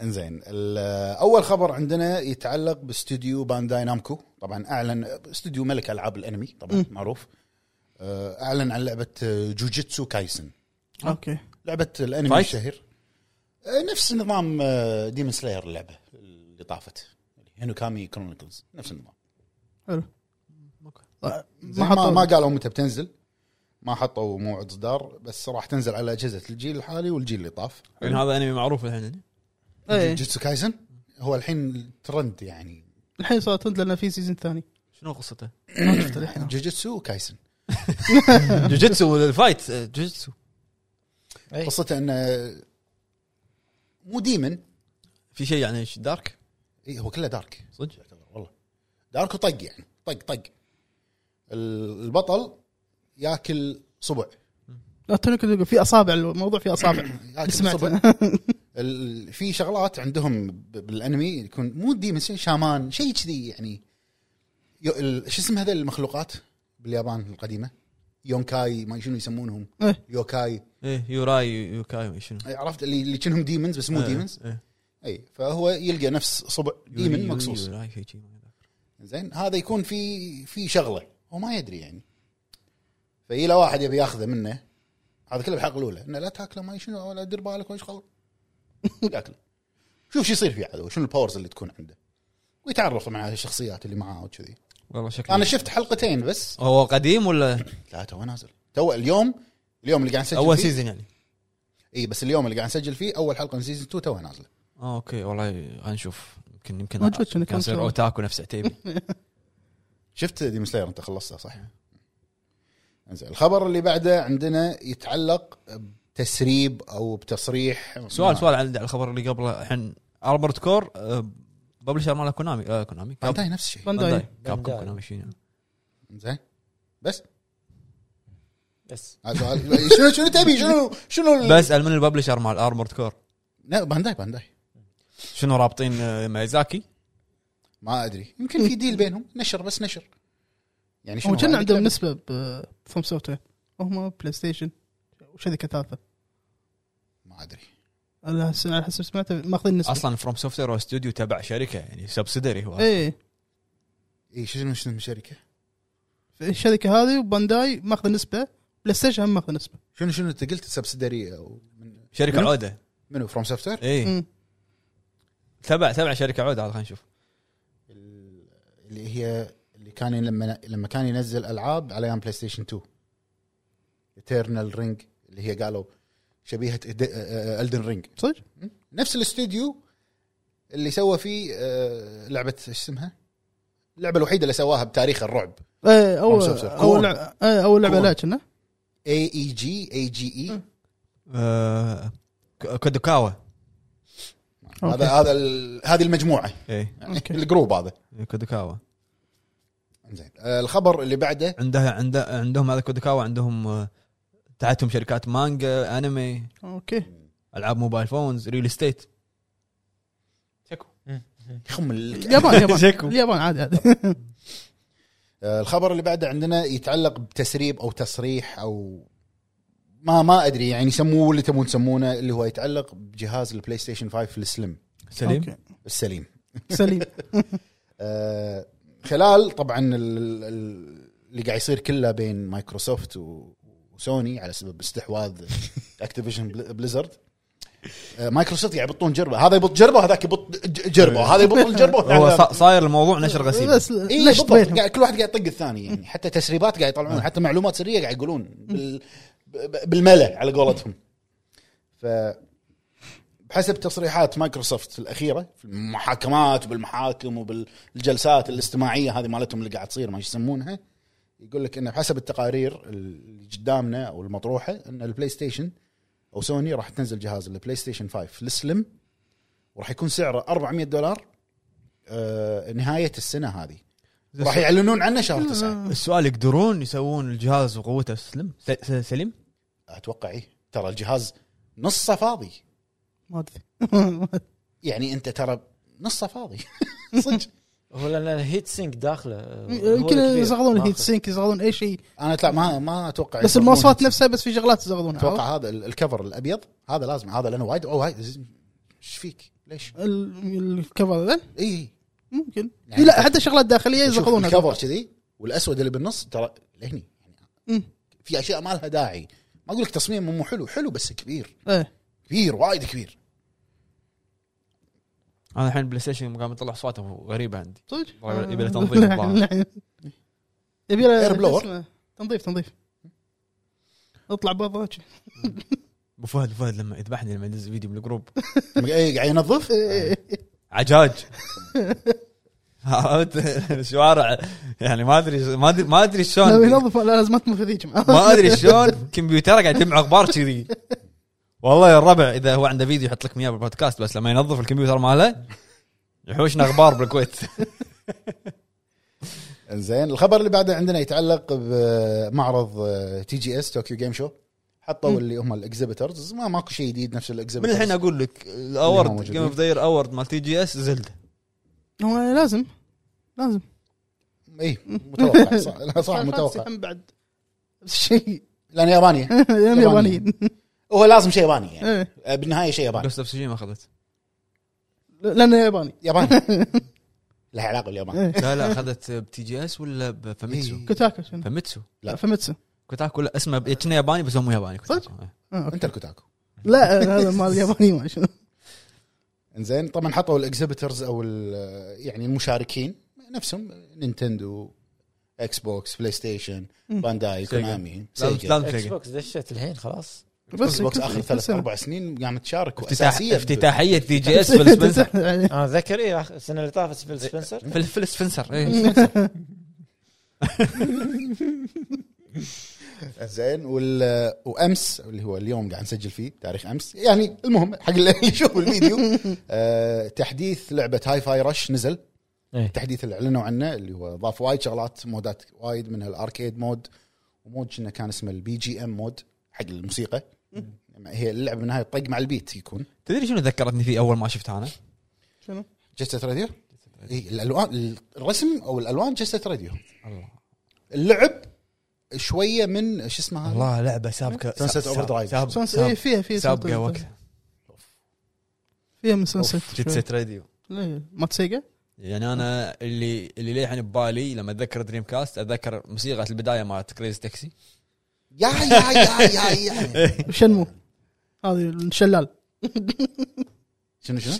C: انزين ال- اول خبر عندنا يتعلق باستوديو بانداي نامكو طبعا اعلن استوديو ملك العاب الانمي طبعا معروف آه، اعلن عن لعبه آه، جوجيتسو كايسن آه.
B: اوكي
C: لعبه الانمي
A: فايت؟
C: الشهير آه، نفس نظام آه، ديمون سلاير اللعبه اللي طافت هينوكامي كرونيكلز نفس النظام
B: حلو ما
C: ما, ما,
B: حطوا
C: ما قالوا متى بتنزل ما حطوا موعد صدار بس راح تنزل على اجهزه الجيل الحالي والجيل اللي طاف
A: لان يعني هذا انمي معروف الحين يعني.
B: إيه.
C: جوجيتسو كايسن هو الحين ترند يعني
B: الحين صارت تنزل لنا في سيزون ثاني
A: شنو قصته؟
B: ما شفته
C: (laughs)
B: الحين
C: جوجيتسو كايسن
A: جوجيتسو ولا الفايت آه، جوجيتسو
C: قصته انه مو ديمن
A: في شيء يعني ش- دارك
C: إيه هو كله دارك
A: صدق؟
C: والله دارك وطق يعني طق طق ال- البطل ياكل صبع
B: لا توني كنت أقول في اصابع الموضوع في اصابع
C: (coughs) يعني
B: سمعت
C: بالضبط. ال- في شغلات عندهم ب- بالانمي يكون مو ديمن شامان شيء كذي يعني يو- ال- شو اسم هذا المخلوقات باليابان القديمه يونكاي ما شنو يسمونهم
B: إيه.
C: يوكاي
A: ايه يوراي يوكاي ما شنو
C: أي، عرفت اللي اللي كأنهم ديمنز بس مو
A: إيه،
C: ديمنز
A: إيه.
C: اي فهو يلقى نفس صبع
A: يوري-
C: ديمن
A: يوري-
C: مقصوص
A: يوراي شي- شي ما أدري.
C: زين هذا يكون في في شغله هو ما يدري يعني فيجي له واحد يبي ياخذه منه هذا كله بالحلقه الاولى انه لا تاكله ما شنو ولا دير بالك ولا (laughs) شغل ياكله شوف شو يصير فيه عاد شنو الباورز اللي تكون عنده ويتعرف طبعا على الشخصيات اللي معاه وكذي
A: والله شكله يعني.
C: انا شفت حلقتين بس
A: هو قديم ولا
C: لا تو نازل تو اليوم اليوم اللي قاعد نسجل
A: اول
C: فيه-
A: سيزون يعني
C: اي بس اليوم اللي قاعد نسجل فيه اول حلقه من سيزون 2 تو نازله
A: اه اوكي والله نشوف يمكن يمكن
B: موجود
A: كان
B: شنو كان
A: يصير
B: شغل.
A: اوتاكو نفس عتيبي
C: شفت ديم سلاير انت خلصتها صح؟ انزين الخبر اللي بعده عندنا يتعلق بتسريب او بتصريح
A: (laughs) سؤال سؤال عن الخبر اللي قبله الحين اربرت كور ببلشر ماله كونامي آه، كونامي كاب-
C: بانداي نفس الشيء
B: بانداي.
A: بانداي كاب
D: بانداي.
A: كونامي شنو
C: زين بس
D: بس
C: هذا سؤال (laughs) شنو شنو تبي شنو شنو
B: إيه.
C: ال-
A: بسال من الببلشر مال ارمورد كور
C: لا بانداي بانداي
A: شنو رابطين آه، مايزاكي
C: ما ادري يمكن في ديل بينهم نشر بس نشر يعني
B: هو كان
C: هذا؟
B: عندهم نسبه ب- بفروم سوفت وير وهم بلاي ستيشن وشركه ثالثه
C: ما ادري
B: على حس- على حسب سمعته ماخذين نسبه
A: اصلا فروم سوفت وير استوديو تبع شركه يعني سبسيدري هو
B: اي
C: اي إيه، شنو شنو الشركه
B: الشركه هذه وبانداي ماخذه نسبه بلاي ستيشن هم ماخذه نسبه
C: شنو شنو انت قلت سبسيدري او من-
A: شركه
C: منو؟
A: عوده
C: منو فروم سوفت وير
A: اي
B: مم.
A: إيه. تبع تبع شركه عوده عاد خلينا نشوف
C: اللي هي اللي كان لما لما كان ينزل العاب على ايام بلاي ستيشن 2 ايترنال رينج اللي هي قالوا شبيهه الدن رينج
B: صدق؟
C: نفس الاستوديو اللي سوى فيه آه، لعبه ايش اسمها؟ اللعبه الوحيده اللي سواها بتاريخ الرعب
B: اي اول
C: From Software.
B: اول لعبه إيه، اول لعبه
C: كون.
B: لا كنا
C: اي اي جي اي جي اي
A: آه، ك- كودوكاوا
B: أوكي.
C: هذا هذا ال- هذه المجموعه
A: اي
C: يعني
B: أوكي.
C: (laughs) الجروب هذا
A: إيه، كودوكاوا
C: زين آه، الخبر اللي بعده
A: عندها عند عندهم هذا كودوكاوا عندهم آه، تحتهم شركات مانجا انمي
B: اوكي
A: العاب موبايل فونز ريل استيت
C: يخم ال-
B: اليابان
A: شكو.
B: اليابان اليابان عادي عادي
C: آه، الخبر اللي بعده عندنا يتعلق بتسريب او تصريح او ما ما ادري يعني سموه اللي تبون تسمونه اللي هو يتعلق بجهاز البلاي ستيشن 5 السليم
A: سليم
B: أوكي.
C: السليم
B: سليم
C: آه، خلال طبعا ال- ال- اللي قاعد يصير كله بين مايكروسوفت و- وسوني على سبب استحواذ اكتيفيشن بليزرد آه، مايكروسوفت قاعد يبطون جربه هذا يبط جربه هذاك يبط ج- جربه هذا يبط الجربه
A: هو
C: والثاني لا.
A: صا- صاير الموضوع نشر غسيل
B: بس
C: اي
B: ليش
C: إيه، بالضبط
B: بينهم
C: قاعد كل واحد قاعد يطق الثاني يعني حتى تسريبات قاعد يطلعون حتى معلومات سريه قاعد يقولون بال... ب- بالملا على قولتهم ف بحسب تصريحات مايكروسوفت الاخيره في المحاكمات وبالمحاكم وبالجلسات الاجتماعيه هذه مالتهم اللي قاعد تصير ما إيش يسمونها يقول لك انه بحسب التقارير اللي قدامنا او المطروحه ان البلاي ستيشن او سوني راح تنزل جهاز البلاي ستيشن 5 السلم وراح يكون سعره 400 دولار آه، نهايه السنه هذه راح يعلنون عنه شهر 9
A: السؤال يقدرون يسوون الجهاز وقوته سلم س- س- سليم
C: اتوقع ايه ترى الجهاز نصه فاضي
B: ما (laughs) ادري
C: يعني انت ترى نصه فاضي (laughs) صدق
D: هو لان الهيت سينك داخله آه، هو
B: يمكن
D: الكبير.
B: يزغلون
D: ماخذ.
B: هيت سينك يزغلون اي شيء
C: انا لا ما ما اتوقع
B: بس
C: يسوون
B: المواصفات
C: هيك.
B: نفسها بس في شغلات يزغلونها عرفت؟
C: اتوقع هذا ال- الكفر الابيض هذا لازم هذا لانه وايد او وايد ايش فيك ليش
B: ال- الكفر ذا
C: اي
B: ممكن إيه،
C: يعني
B: لا
C: أنت-
B: حتى شغلات داخليه
C: شوف
B: يزغلونها
C: الكفر كذي والاسود اللي بالنص ترى لهني
B: مم.
C: في اشياء ما لها داعي ما اقول لك تصميم مو حلو حلو بس كبير
B: ايه
C: كبير وايد كبير (laughs)
A: انا الحين بلاي ستيشن قام يطلع اصواته غريبه عندي
B: صدق
A: والله يبي له
B: (laughs)
A: تنظيف الظاهر.
B: يبي له
C: Air
B: شو
C: blower.
B: اسمه؟ تنظيف تنظيف اطلع برا وجه.
A: ابو فهد أبو فهد لما يذبحني لما يدز فيديو بالجروب
C: إي، إيه، قاعد ينظف
B: إيه،
A: (laughs)
B: (laughs)
A: عجاج عرفت (laughs) شوارع يعني ما ادري ما ادري ما ادري
B: لو
A: شلون
B: ينظف إيه. لا لازم تنظف ذيك
A: ما ادري شلون كمبيوتر قاعد يجمع اخبار كذي والله يا الربع اذا هو عنده فيديو يحط لك اياه بالبودكاست بس لما ينظف الكمبيوتر ماله يحوشنا اخبار بالكويت
C: آه، زين الخبر اللي بعده عندنا يتعلق بمعرض تي جي اس طوكيو جيم شو حطوا اللي هم الاكزبيترز ما ماكو شيء جديد
A: (laughs)
C: نفس
A: من
C: الاكزبيترز
A: الحين اقول لك
C: ما
A: الاورد
C: موجودين.
A: جيم اوف ذا اورد مال تي جي اس (laughs) زلده
B: (laughs) هو لازم لازم
C: اي إيه، متوقع
B: (laughs)
C: صح- لا، صح
B: Final Fantasy
C: متوقع
B: هم بعد شيء (laughs)
C: لان يابانيه
B: لأن يابانيين
C: (laughs) هو لازم شيء ياباني يعني
B: إيه،
C: آه، بالنهايه شيء ياباني
A: جوست اوف سوشيما اخذت
B: لانه ياباني (laughs)
C: ياباني لها علاقه باليابان
B: إيه.
A: لا لا اخذت بتي جي اس ولا بفاميتسو
C: إيه.
B: كوتاكا شنو
A: فاميتسو
C: لا.
B: فمتسو
A: كوتاكو لا اسمه كنا ياباني بس هو مو ياباني كوتاكو. إيه.
B: آه، أوكي.
C: انت الكوتاكو
B: لا هذا مال الياباني ما
C: (laughs)
B: شنو
C: انزين طبعا حطوا الاكزبيترز او ال- يعني المشاركين نفسهم نينتندو اكس بوكس بلاي ستيشن
B: مم.
C: بانداي
A: سيجا.
C: كونامي
A: لازم
C: سيجا
A: لازم
D: اكس
A: تلاقي
D: بوكس دشت الحين (laughs) خلاص
C: اكس بوكس
B: كل-
C: اخر
B: كل
C: ثلاث
B: سنة.
C: اربع سنين قامت تشارك
A: افتتاح
C: وأساسية ب-
A: (laughs) افتتاحيه تي جي اس فيل
B: (laughs)
A: سبنسر
B: يعني
D: انا اتذكر إيه، آخر- السنه اللي طافت فيل سبنسر
A: فيل- فيل سبنسر إيه. (laughs)
C: زين وال... وامس اللي هو اليوم قاعد نسجل فيه تاريخ امس يعني المهم حق اللي (laughs) يشوف الفيديو آه تحديث لعبه هاي فاي رش نزل
D: إيه.
C: التحديث اللي اعلنوا عنه اللي هو ضاف وايد شغلات مودات وايد من الاركيد مود ومود شنو كان اسمه البي جي ام مود حق الموسيقى هي اللعبه بالنهايه طق مع البيت يكون
A: تدري شنو ذكرتني فيه اول ما شفتها انا؟
B: شنو؟
C: جست راديو الالوان إيه، الرسم او الالوان جست راديو
A: الله
C: اللعب شويه من شو اسمها
A: والله لعبه سابقه
C: Sunset
A: ساب-
C: Overdrive.
A: ساب-
B: سانس
A: ساب-
B: اي فيها فيها
A: سابقه
B: سانس-
A: وقتها
B: فيها من سانسيت
A: جيت سيت راديو
B: ما تسيقه؟
A: يعني انا اللي اللي للحين ببالي لما اتذكر دريم كاست اتذكر موسيقى البدايه مالت كريز تاكسي
C: يا يا يا يا يا
B: شنمو هذه الشلال
C: شنو شنو؟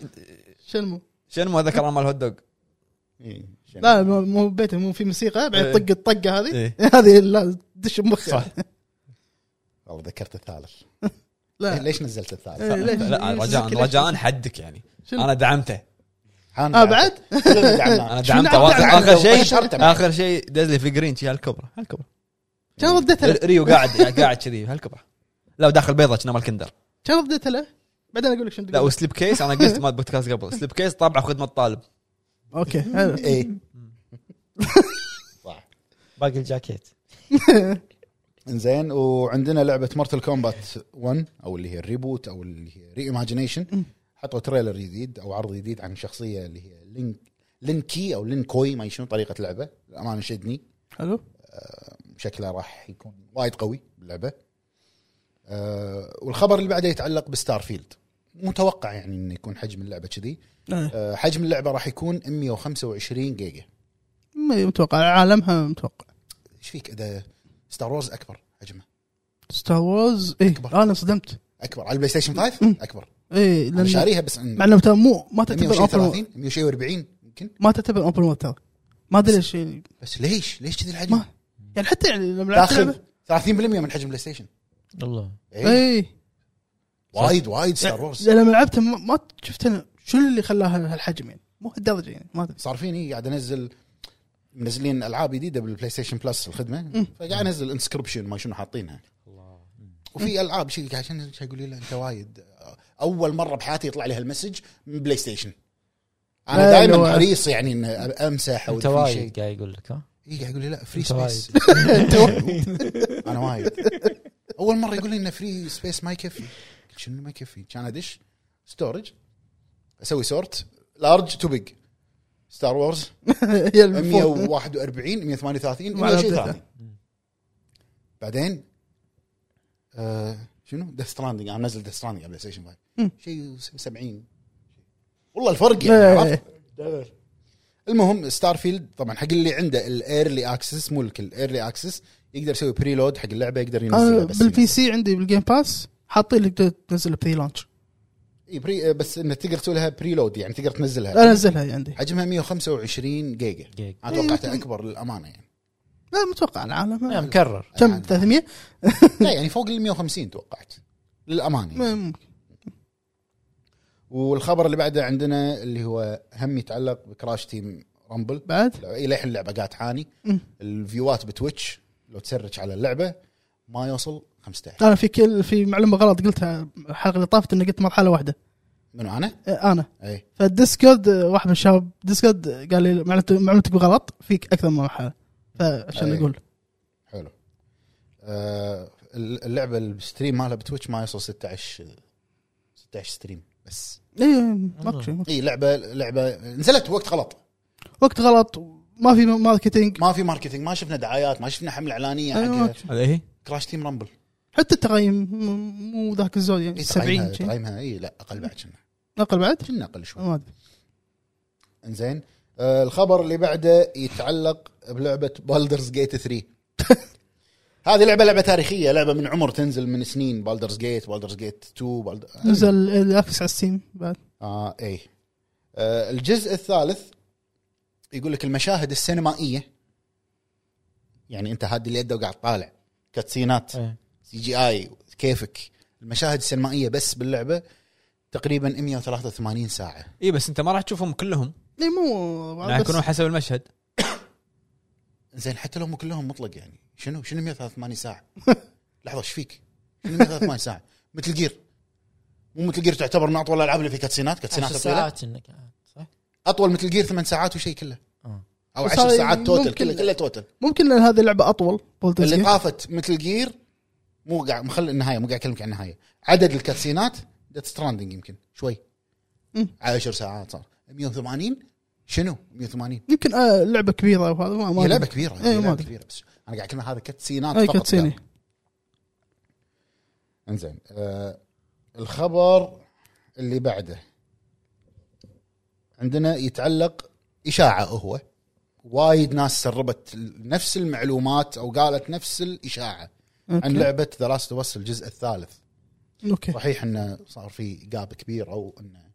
B: شنمو
A: شنو ما ذكر مال هوت دوغ
C: إيه، شنو؟
B: لا مو- مو بيته مو في موسيقى بعدين
A: إيه.
B: طق الطقه هذه
A: إيه.
B: (laughs) هذه لا تدش بمخك
A: صح.
C: والله ذكرت الثالث
B: لا
C: إيه، ليش نزلت الثالث؟
B: إيه، ليش؟
A: لا
B: ليش
A: رجاء
B: تذكر-
A: رجاء حدك يعني
B: شنو؟
A: انا دعمته
C: هان
B: اه بعد؟
C: كلنا دعمناه.
A: انا
B: شنو
A: دعمته
B: دعم-
A: واثق.
B: دعم-
A: اخر شيء
C: شرطة معي.
A: اخر شيء دز لي في جرين شي هالكبره هالكبره إيه.
B: كان رديت له
A: ريو قاعد قاعد كذي هالكبره لا وداخل بيضه كنا مال كندر
B: كان رديت له بعدين اقول لك شنو
A: لا
B: تقول.
A: وسليب كيس انا قلت مال بودكاست قبل سليب كيس طابعه خدمه الطالب
B: اوكي حلو.
C: ايه
D: باقي الجاكيت
C: انزين وعندنا لعبه مارتل كومبات 1 او اللي هي الريبوت او اللي هي ري ايماجينيشن حطوا تريلر جديد او عرض جديد عن شخصيه اللي هي لينك لينكي او لينكوي ما شنو طريقه لعبه الامانه شدني
B: حلو
C: شكله راح يكون وايد قوي باللعبه أه والخبر اللي بعده يتعلق بستار فيلد متوقع يعني انه يكون حجم اللعبه كذي
B: إيه.
C: أه حجم اللعبه راح يكون 125 جيجا
B: ما متوقع عالمها متوقع
C: ايش فيك اذا ستار وورز اكبر حجمه
B: ستار وورز اي
C: أكبر.
B: انا إيه، انصدمت
C: اكبر على البلاي ستيشن 5
B: مم.
C: اكبر
B: اي
C: انا
B: لان
C: شاريها بس
B: مع
C: عندي
B: انه ترى مو ما تعتبر اوبن
C: 130 140 يمكن
B: ما تعتبر اوبن وورد ترى ما ادري ايش يعني
C: بس ليش ليش كذي الحجم؟
B: ما- يعني حتى يعني لما لعبت
C: تاخذ
B: لعبة-
C: 30% من حجم بلاي ستيشن
D: الله
C: إيه.
B: اي
C: وايد وايد ستار وورز
B: لما لعبتها ما, ما شفت انا شو اللي خلاها هالحجم يعني مو هالدرجه يعني ما ادري
C: صار فيني قاعد انزل منزلين العاب جديده بالبلاي ستيشن بلس الخدمه
B: مم.
C: فقاعد انزل انسكربشن ما شنو حاطينها وفي العاب شيء قاعد عشان شي يقول لي لا انت وايد اول مره بحياتي يطلع لي هالمسج من بلاي ستيشن انا
B: لا،
C: دائما
B: لا.
C: حريص يعني ان امسح او
D: انت
C: في شيء
D: وايد قاعد يقول لك ها
C: اي قاعد يقول لي لا فري
D: أنت
C: سبيس (laughs) انا وايد اول مره يقول لي انه فري سبيس ما يكفي قلت شنو ما يكفي كان ادش ستورج اسوي سورت لارج تو بيج ستار وورز
B: (laughs) هي اللي فوق.
C: 141 138
B: ما على
C: 130 بعدين آه شنو ديث ستراندنج انا منزل ديث ستراندنج على بلاي ستيشن 5
B: مم.
C: شيء 70 والله الفرق يعني
B: إيه.
C: عرفت؟ المهم ستار فيلد طبعا حق اللي عنده الايرلي اكسس مو الكل الايرلي اكسس يقدر يسوي بريلود حق اللعبه يقدر ينزلها
B: انا
C: بس
B: بالبي سي عندي بالجيم باس حاطين لك تنزل بري لانش
C: اي بري بس انه تقدر تسوي لها بريلود يعني تقدر تنزلها
B: انزلها عندي
C: حجمها 125 جيجا
D: جيج
C: انا
B: إيه،
C: توقعته اكبر للامانه يعني
B: لا متوقع
D: لا،
B: العالم
D: مكرر
B: كم 300
C: لا يعني فوق ال 150 توقعت للامانه يعني.
B: ما ممكن
C: والخبر اللي بعده عندنا اللي هو هم يتعلق بكراش تيم رامبل
B: بعد
C: اي للحين اللعبه قاعد تعاني
B: مم.
C: الفيوات بتويتش لو تسرج على اللعبه ما يوصل 15
B: انا في كل في معلومه غلط قلتها الحلقه اللي طافت اني قلت مرحله واحده
C: منو إيه، انا؟
B: آه، انا
C: اي
B: فالديسكورد آه، واحد من الشباب ديسكورد آه، قال لي معلومتك معلومتك غلط فيك اكثر من مرحله فعشان
C: أي.
B: اقول
C: حلو آه اللعبه الستريم مالها بتويتش ما يوصل 16 16 ستريم بس
B: اي ماكو شيء ماكو شيء.
C: اي لعبه لعبه نزلت وقت غلط
B: وقت غلط ما في ماركتينج
C: ما في ماركتينج ما شفنا دعايات ما شفنا حمله اعلانيه
B: أي ماكو
C: حق
B: شيء.
A: هذا هي
C: كراش تيم رامبل
B: حتى التقييم م- مو ذاك الزود يعني
C: إيه،
B: 70 شيء.
C: تقييمها اي لا اقل بعد كنا
B: اقل بعد
C: كنا اقل شوي
B: ما ادري
C: انزين آه الخبر اللي بعده يتعلق بلعبه بالدرز جيت 3 (laughs) هذه لعبه لعبه تاريخيه لعبه من عمر تنزل من سنين بالدرز جيت بالدرز جيت 2 بالد...
B: نزل الاكس على ستيم بعد
C: اه اي آه الجزء الثالث يقول لك المشاهد السينمائيه يعني انت هاد اللي يده وقاعد طالع كاتسينات
D: إيه.
C: سي جي اي كيفك المشاهد السينمائيه بس باللعبه تقريبا 183 ساعه
A: اي بس انت ما راح تشوفهم كلهم يعني
B: اي إيه، مو
A: راح
B: آه، بس
A: يكونون حسب المشهد
C: زين حتى لو مو كلهم مطلق يعني شنو شنو 183
B: (laughs)
C: ساعه لحظه ايش فيك؟ شنو 183 ساعه؟ مثل جير مو مثل جير تعتبر من اطول الالعاب اللي في كاتسينات كاتسينات
D: 10
C: طويله
D: ساعات انك صح؟
C: اطول مثل جير ثمان ساعات وشيء كله
D: آه.
C: او
B: بس
C: 10
B: هاي
C: ساعات توتل
B: ممكن-
C: كله كله توتل
B: ممكن لان هذه اللعبه اطول Baldur's
C: اللي
B: Gate.
C: طافت مثل جير مو قاعد مخلي النهايه مو قاعد اكلمك عن النهايه عدد الكاتسينات ديث ستراندنج يمكن شوي
B: مم.
C: 10 ساعات صار 180 شنو 180
B: يمكن آه لعبه كبيره وهذا ما ما
C: هي لعبه
B: أدري.
C: كبيره
B: إيه،
C: هي
B: ما
C: لعبه
B: أدري.
C: كبيره بس انا قاعد اكلم هذا كاتسينات
B: اي
C: فقط يعني.
B: كاتسيني
C: قاعد. انزين آه الخبر اللي بعده عندنا يتعلق اشاعه هو وايد ناس سربت نفس المعلومات او قالت نفس الاشاعه
B: أوكي.
C: عن لعبه ذا لاست اوف الجزء الثالث
B: اوكي
C: صحيح انه صار في جاب كبير او انه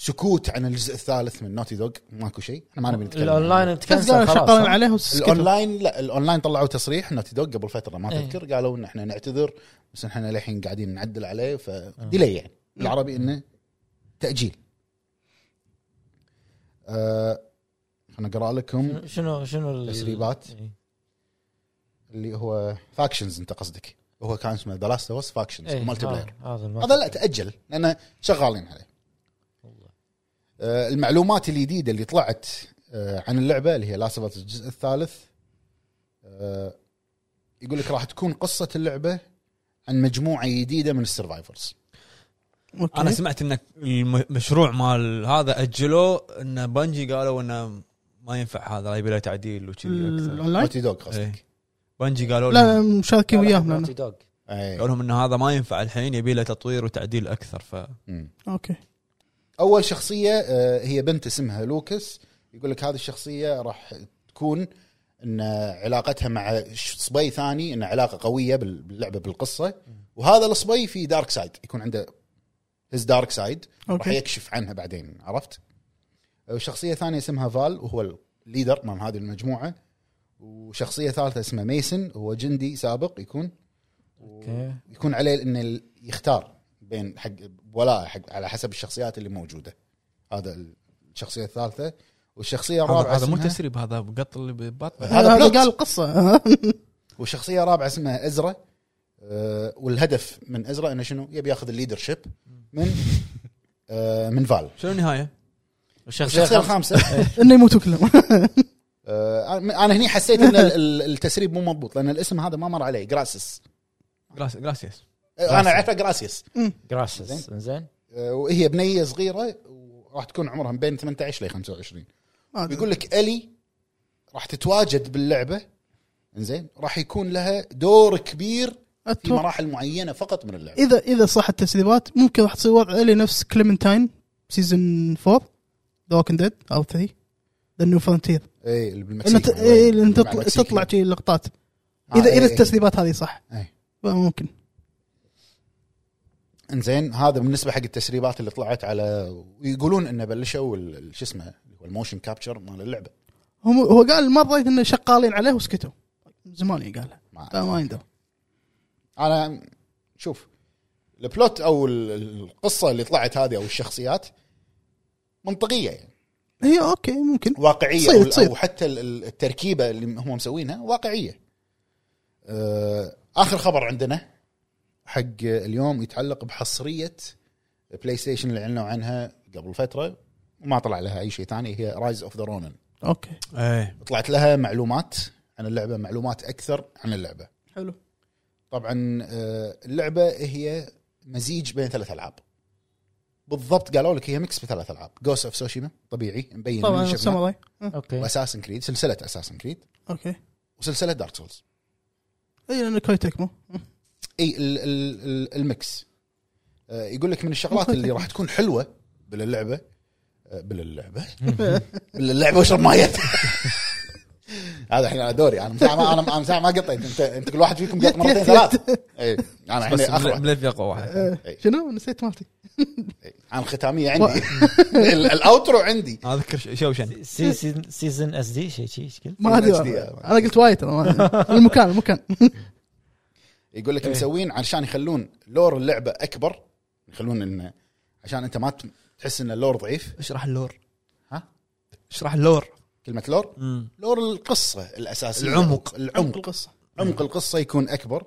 C: سكوت عن الجزء الثالث من نوتي دوغ ماكو شيء احنا ما نبي نتكلم
D: الاونلاين
B: بس
D: تكنسل
B: قالوا شغالين
D: خلاص
B: عليه وسكتوا
C: الاونلاين لا الاونلاين طلعوا تصريح نوتي دوغ قبل فتره ما
D: إيه.
C: تذكر قالوا ان احنا نعتذر بس احنا للحين قاعدين نعدل عليه
D: إيه.
C: فديلي يعني بالعربي انه تاجيل آه، خلنا اقرا لكم
D: شنو شنو ال-
C: تسريبات.
D: إيه.
C: اللي هو فاكشنز انت قصدك هو كان اسمه ذا لاست اوف فاكشنز
D: إيه،
C: مالتي بلاير
D: هذا- هذا المالتي
C: هذا لا تاجل لان شغالين عليه
D: والله.
C: آه، المعلومات الجديده اللي طلعت آه، عن اللعبه اللي هي لاست الجزء الثالث آه، يقول لك راح تكون قصه اللعبه عن مجموعه جديده من السرفايفرز
B: أوكي.
A: انا سمعت ان المشروع مال هذا اجلوه ان بنجي قالوا انه ما ينفع هذا يبي له تعديل وكذي اكثر
B: الاونلاين
C: نوتي دوغ قصدك
A: إيه. بنجي قالوا
B: لا
A: لهم
B: مشاركين وياهم لأن-
D: نوتي دوغ.
C: أي.
A: قالوا لهم ان هذا ما ينفع الحين يبي له تطوير وتعديل اكثر ف
C: مم.
B: اوكي
C: اول شخصيه آه، هي بنت اسمها لوكس يقول لك هذه الشخصيه راح تكون ان علاقتها مع ش- صبي ثاني ان علاقه قويه بال- باللعبه بالقصه وهذا الصبي في دارك سايد يكون عنده هز دارك سايد راح
B: اوكي
C: يكشف عنها بعدين عرفت؟ وشخصيه ثانيه اسمها فال وهو الليدر من هذه المجموعه وشخصيه ثالثه اسمها ميسن هو جندي سابق يكون
D: اوكي
C: يكون عليه انه ال- يختار بين حق ولاء حق على حسب الشخصيات اللي موجوده هذا ال- الشخصيه الثالثه والشخصيه
A: هذا
C: الرابعه
A: هذا مو
C: اسمها-
A: تسريب هذا قط اللي بباطن
C: هذا
B: هذا
C: بلوت.
B: قال (laughs) القصه
C: والشخصيه الرابعه اسمها ازرا أه والهدف من ازرا انه شنو يبي ياخذ الليدرشيب
A: (laughs)
C: من أه من فال
A: شنو النهايه؟
D: الشخصيه
C: الشخصيه
D: الخامسة.
C: الخامسه
B: انه يموتوا كلهم
C: آه، انا هني حسيت ان ال- ال- التسريب مو مضبوط لان الاسم هذا ما مر علي جراسس
A: جراس- جراسيس
C: آه، انا اعرفه جراسيس
D: جراسس زين
C: آه، وهي بنيه صغيره وراح تكون عمرها بين 18 ل 25
B: (laughs) ما أدري.
C: يقول لك الي راح تتواجد باللعبه زين راح يكون لها دور كبير في
B: أتوقع
C: مراحل معينه فقط من اللعبه
B: اذا اذا صح التسريبات ممكن راح تصير وضع الي نفس كليمنتاين سيزون 4 ذا ووكينج ديد او 3 ذا نيو فرونتير
C: اي
B: انه
C: بالمكسيك
B: ت- إيه، لأن
C: مع
B: تطلع
C: المكسيك.
B: تطلع شي لقطات
C: آه،
B: اذا
C: إيه،
B: اذا
C: إيه.
B: التسريبات هذه صح
C: إيه.
B: ممكن
C: انزين هذا بالنسبه حق التسريبات اللي طلعت على ويقولون انه بلشوا ال- ال- شو اسمه اللي هو الموشن كابتشر مال اللعبه
B: هم هو قال ما رضيت انه شغالين عليه وسكتوا من زمان قالها
C: ما-
B: لا ما يندر
C: انا شوف البلوت او ال- القصه اللي طلعت هذه او الشخصيات منطقيه يعني
B: هي اوكي ممكن
C: واقعيه
B: تصير-
C: أو-
B: تصير.
C: او حتى ال- ال- التركيبه اللي هم مسوينها واقعيه. آه، اخر خبر عندنا حق اليوم يتعلق بحصريه بلاي ستيشن اللي اعلنوا عنها قبل فتره وما طلع لها اي شيء ثاني هي رايز اوف ذا رونن
B: اوكي
A: ايه
C: إيه. طلعت لها معلومات عن اللعبه معلومات اكثر عن اللعبه
B: حلو
C: طبعا آه، اللعبه هي مزيج بين ثلاث العاب بالضبط قالوا لك هي ميكس بثلاث العاب جوست اوف سوشيما طبيعي مبين
B: طبعا
C: من شفنا
B: ساموراي
D: اوكي
C: واساسن كريد سلسله اساسن كريد
B: اوكي
C: وسلسله دارك سولز
B: اي لان إيه، كوي تكمو
C: اي ال ال ال المكس آه، يقول لك من الشغلات اللي راح تكون حلوه باللعبه آه، باللعبه باللعبه واشرب ميه هذا الحين انا دوري انا من ساعه ما انا من ساعه ما قطيت انت انت كل واحد فيكم قط مرتين ثلاث اي انا
A: بس
C: الحين اخر
A: بلف يقوى واحد
B: إيه. شنو نسيت مالتي
C: انا الختاميه عندي ال- الاوترو عندي
A: انا اذكر ش- شوشن
D: سيزن سيزن اس دي شيء شيء شكل
B: ما ادري
C: ال HD
B: انا قلت وايد انا ما- المكان المكان
C: يقول لك مسوين علشان يخلون لور اللعبه اكبر يخلون انه عشان انت ما ت- تحس ان اللور ضعيف
A: اشرح اللور
C: ها؟
A: اشرح اللور
C: كلمه لور لور القصه الاساسيه
A: العمق.
C: العمق
B: القصه
C: عمق القصه يكون اكبر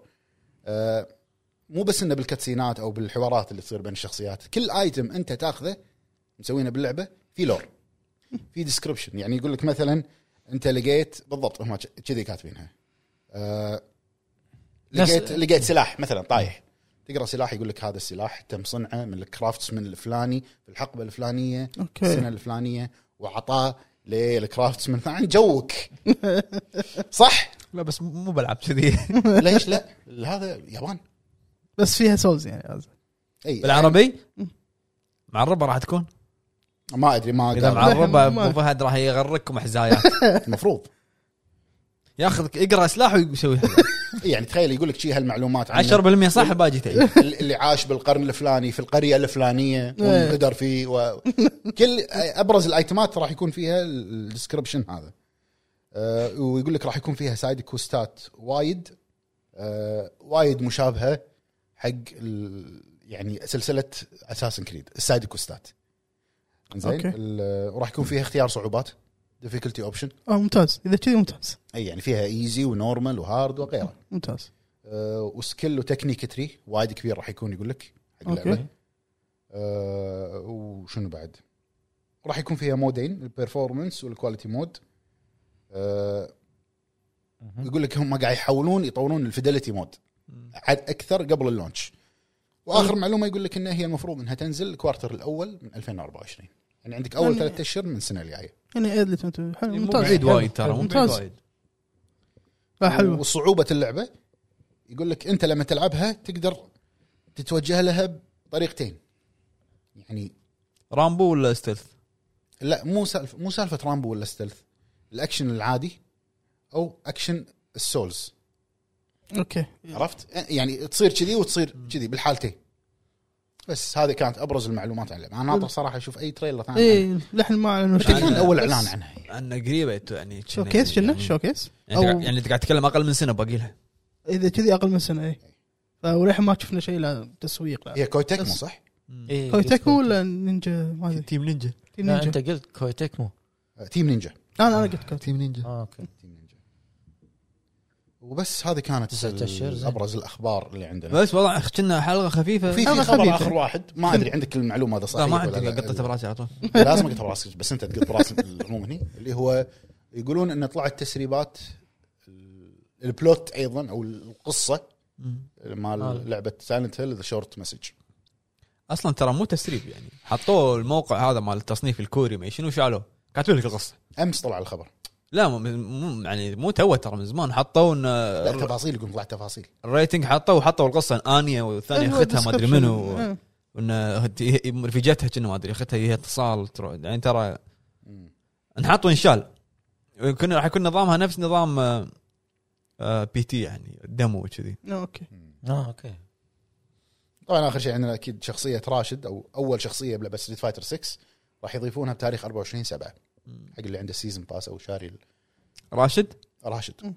C: آه، مو بس انه بالكاتسينات او بالحوارات اللي تصير بين الشخصيات كل ايتم انت تاخذه مسوينه باللعبه في لور في ديسكربشن يعني يقول لك مثلا انت لقيت بالضبط هم ج- كذي كاتبينها آه، لقيت
D: نفس-
C: لقيت سلاح مثلا طايح تقرا سلاح يقول لك هذا السلاح تم صنعه من الكرافتس من الفلاني في الحقبه الفلانيه السنه
B: اوكي
C: الفلانيه وعطاه للكرافتس من عن جوك صح
A: لا بس م- مو بلعب كذي
C: ليش لا؟ هذا يابان
B: بس فيها سولز يعني قصدي.
C: اي
A: (laughs) بالعربي معربه راح تكون
C: ما ادري ما
A: اذا
C: قال
A: (laughs) معربه
B: ما-
A: ابو فهد راح يغرقكم حزايات
C: المفروض
A: ياخذ اقرا سلاح ويسوي (laughs)
C: إي، يعني تخيل يقول لك شي هالمعلومات عن
A: 10% صح باجي تعيد
C: اللي عاش بالقرن الفلاني في القريه الفلانيه
B: إيه.
C: وانقدر فيه و... كل ابرز الايتمات راح يكون فيها الديسكربشن هذا أه ويقول لك راح يكون فيها سايد كوستات وايد أه وايد مشابهه حق ال... يعني سلسله اساسن كريد السايد كوستات زين
B: أوكي.
C: ال- وراح يكون فيها اختيار صعوبات ديفيكولتي اوبشن
B: اه ممتاز اذا كذي ممتاز
C: اي يعني فيها ايزي ونورمال وهارد وغيره
B: ممتاز
C: أه وسكيل وتكنيك تري وايد كبير راح يكون يقول لك حق اللعبه
B: أوكي.
C: أه وشنو بعد؟ راح يكون فيها مودين البرفورمنس والكواليتي مود أه
D: مهم.
C: يقول لك هم قاعد يحاولون يطورون الفيدلتي مود عاد اكثر قبل اللونش واخر معلومه يقول لك انها هي المفروض انها تنزل الكوارتر الاول من 2024 يعني عندك اول
B: يعني-
C: ثلاثة اشهر من السنه الجايه
B: يعني عيد اللي تنتهي. حلو
A: مو
B: ممتاز
A: بعيد وايد ترى مو بعيد
B: ممتاز. آه،
A: وايد
B: لا، حلوه
C: وصعوبه اللعبه يقول لك انت لما تلعبها تقدر تتوجه لها بطريقتين يعني
A: رامبو ولا ستيلث؟
C: لا مو سالفه مو سالفه رامبو ولا ستيلث الاكشن العادي او اكشن السولز نعم،
B: اوكي
A: إيه.
C: عرفت يعني تصير كذي وتصير كذي بالحالتين بس هذه كانت ابرز المعلومات عن اللعبه انا ناطر صراحه اشوف اي تريلر ثاني
A: إيه.
C: عنها.
B: اي إيه، لحن ما اعلنوا شيء.
C: تقريبا اول
B: بس
C: اعلان عنها
A: عنا قريبه يعني
B: شوكيس شنو شوكيس
A: يعني,
B: أو-
A: يعني, يعني انت قاعد تتكلم اقل من سنه باقي لها
B: اذا كذي اقل من سنه اي فوللحين ما شفنا شيء لا تسويق لا
C: هي كوي تكمو صح؟
D: إيه،
B: كوي
D: قلت
B: تكمو ولا نينجا ما ادري
A: تيم نينجا
B: تيم
D: لا، انت
B: نينجا.
D: قلت كوي تكمو
C: تيم نينجا
B: انا انا قلت كوي تكمو.
C: تيم نينجا
D: آه، اوكي
C: تيم نينجا وبس هذه كانت
D: تسعة أشهر زين.
C: ابرز الاخبار اللي عندنا
A: بس والله كنا حلقه خفيفه
C: في
A: في
C: في
B: هذا
C: خبر
B: خبيث.
C: اخر واحد ما ادري عندك المعلومه هذا صحيح
A: لا ما
C: ولا
A: عندي
C: لا.
A: قطته براسي على طول
C: لازم اقطع براسك بس انت تقط براس العموم هني اللي هو يقولون ان طلعت تسريبات ال- البلوت ايضا او القصه مال
D: مال.
C: لعبه سايلنت هيل ذا شورت مسج
A: اصلا ترى مو تسريب يعني حطوه الموقع هذا مال التصنيف الكوري ما شنو شالوه كاتبين لك القصه
C: امس طلع الخبر
A: لا مو- مو يعني مو تو ترى من زمان حطوا إن
C: لا تفاصيل يقول طلعت تفاصيل
A: الريتنج حطوا وحطوا القصه انيه والثانيه
B: إيه، هو
A: اختها ما ادري
B: description.
A: منو
B: إيه.
A: وان رفيجتها كنا ما ادري اختها هي اتصال ترو- يعني ترى انحط وانشال كنا راح يكون نظامها نفس نظام آه، آه، بي تي يعني دمو كذي
B: اوكي
D: اه اوكي
C: طبعا اخر شيء عندنا اكيد شخصيه راشد او اول شخصيه بلعبه ستريت فايتر 6 راح يضيفونها بتاريخ 24 7 حق اللي عنده سيزون باس او شاري ال-
A: راشد
C: راشد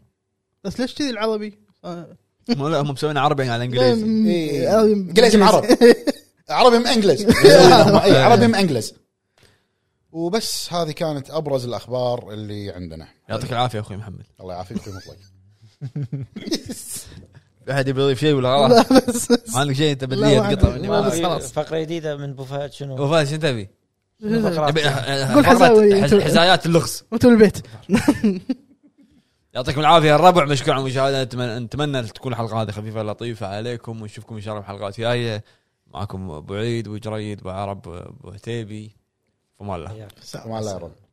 B: بس ليش كذي العربي؟ آه.
A: مو لا هم مسوين عربي يعني على انجليزي
B: لا،
C: إيه.
B: عربي-
C: انجليزي عرب (laughs) عربي (laughs) مانجلز عربي مانجلز وبس هذه كانت ابرز الاخبار اللي عندنا
A: يعطيك العافيه اخوي محمد
C: الله يعافيك اخوي (laughs) مطلق
A: احد يبي يضيف شيء ولا
B: لا
A: خلاص (laughs)
B: بس
A: ما عندك شيء انت
B: لا،
A: بدنيا
B: ما
A: تقطع
B: عندي.
A: مني
B: لا،
A: ما
B: بس خلاص.
D: فقره جديده من ابو فهد شنو؟
A: وفاز شو تبي؟
D: فقرات.
A: تبي-
B: قول
A: فقرة
B: حزاوي.
A: حز- حزايات اللغز
B: وانتم البيت
A: يعطيكم العافيه يا الربع مشكور على المشاهده نتمنى نتمنى تكون الحلقه هذه خفيفه لطيفه عليكم ونشوفكم ان شاء الله بحلقات جايه معكم ابو عيد ابو جريد ابو عرب ابو عتيبي فما الله
C: مع الله يا رب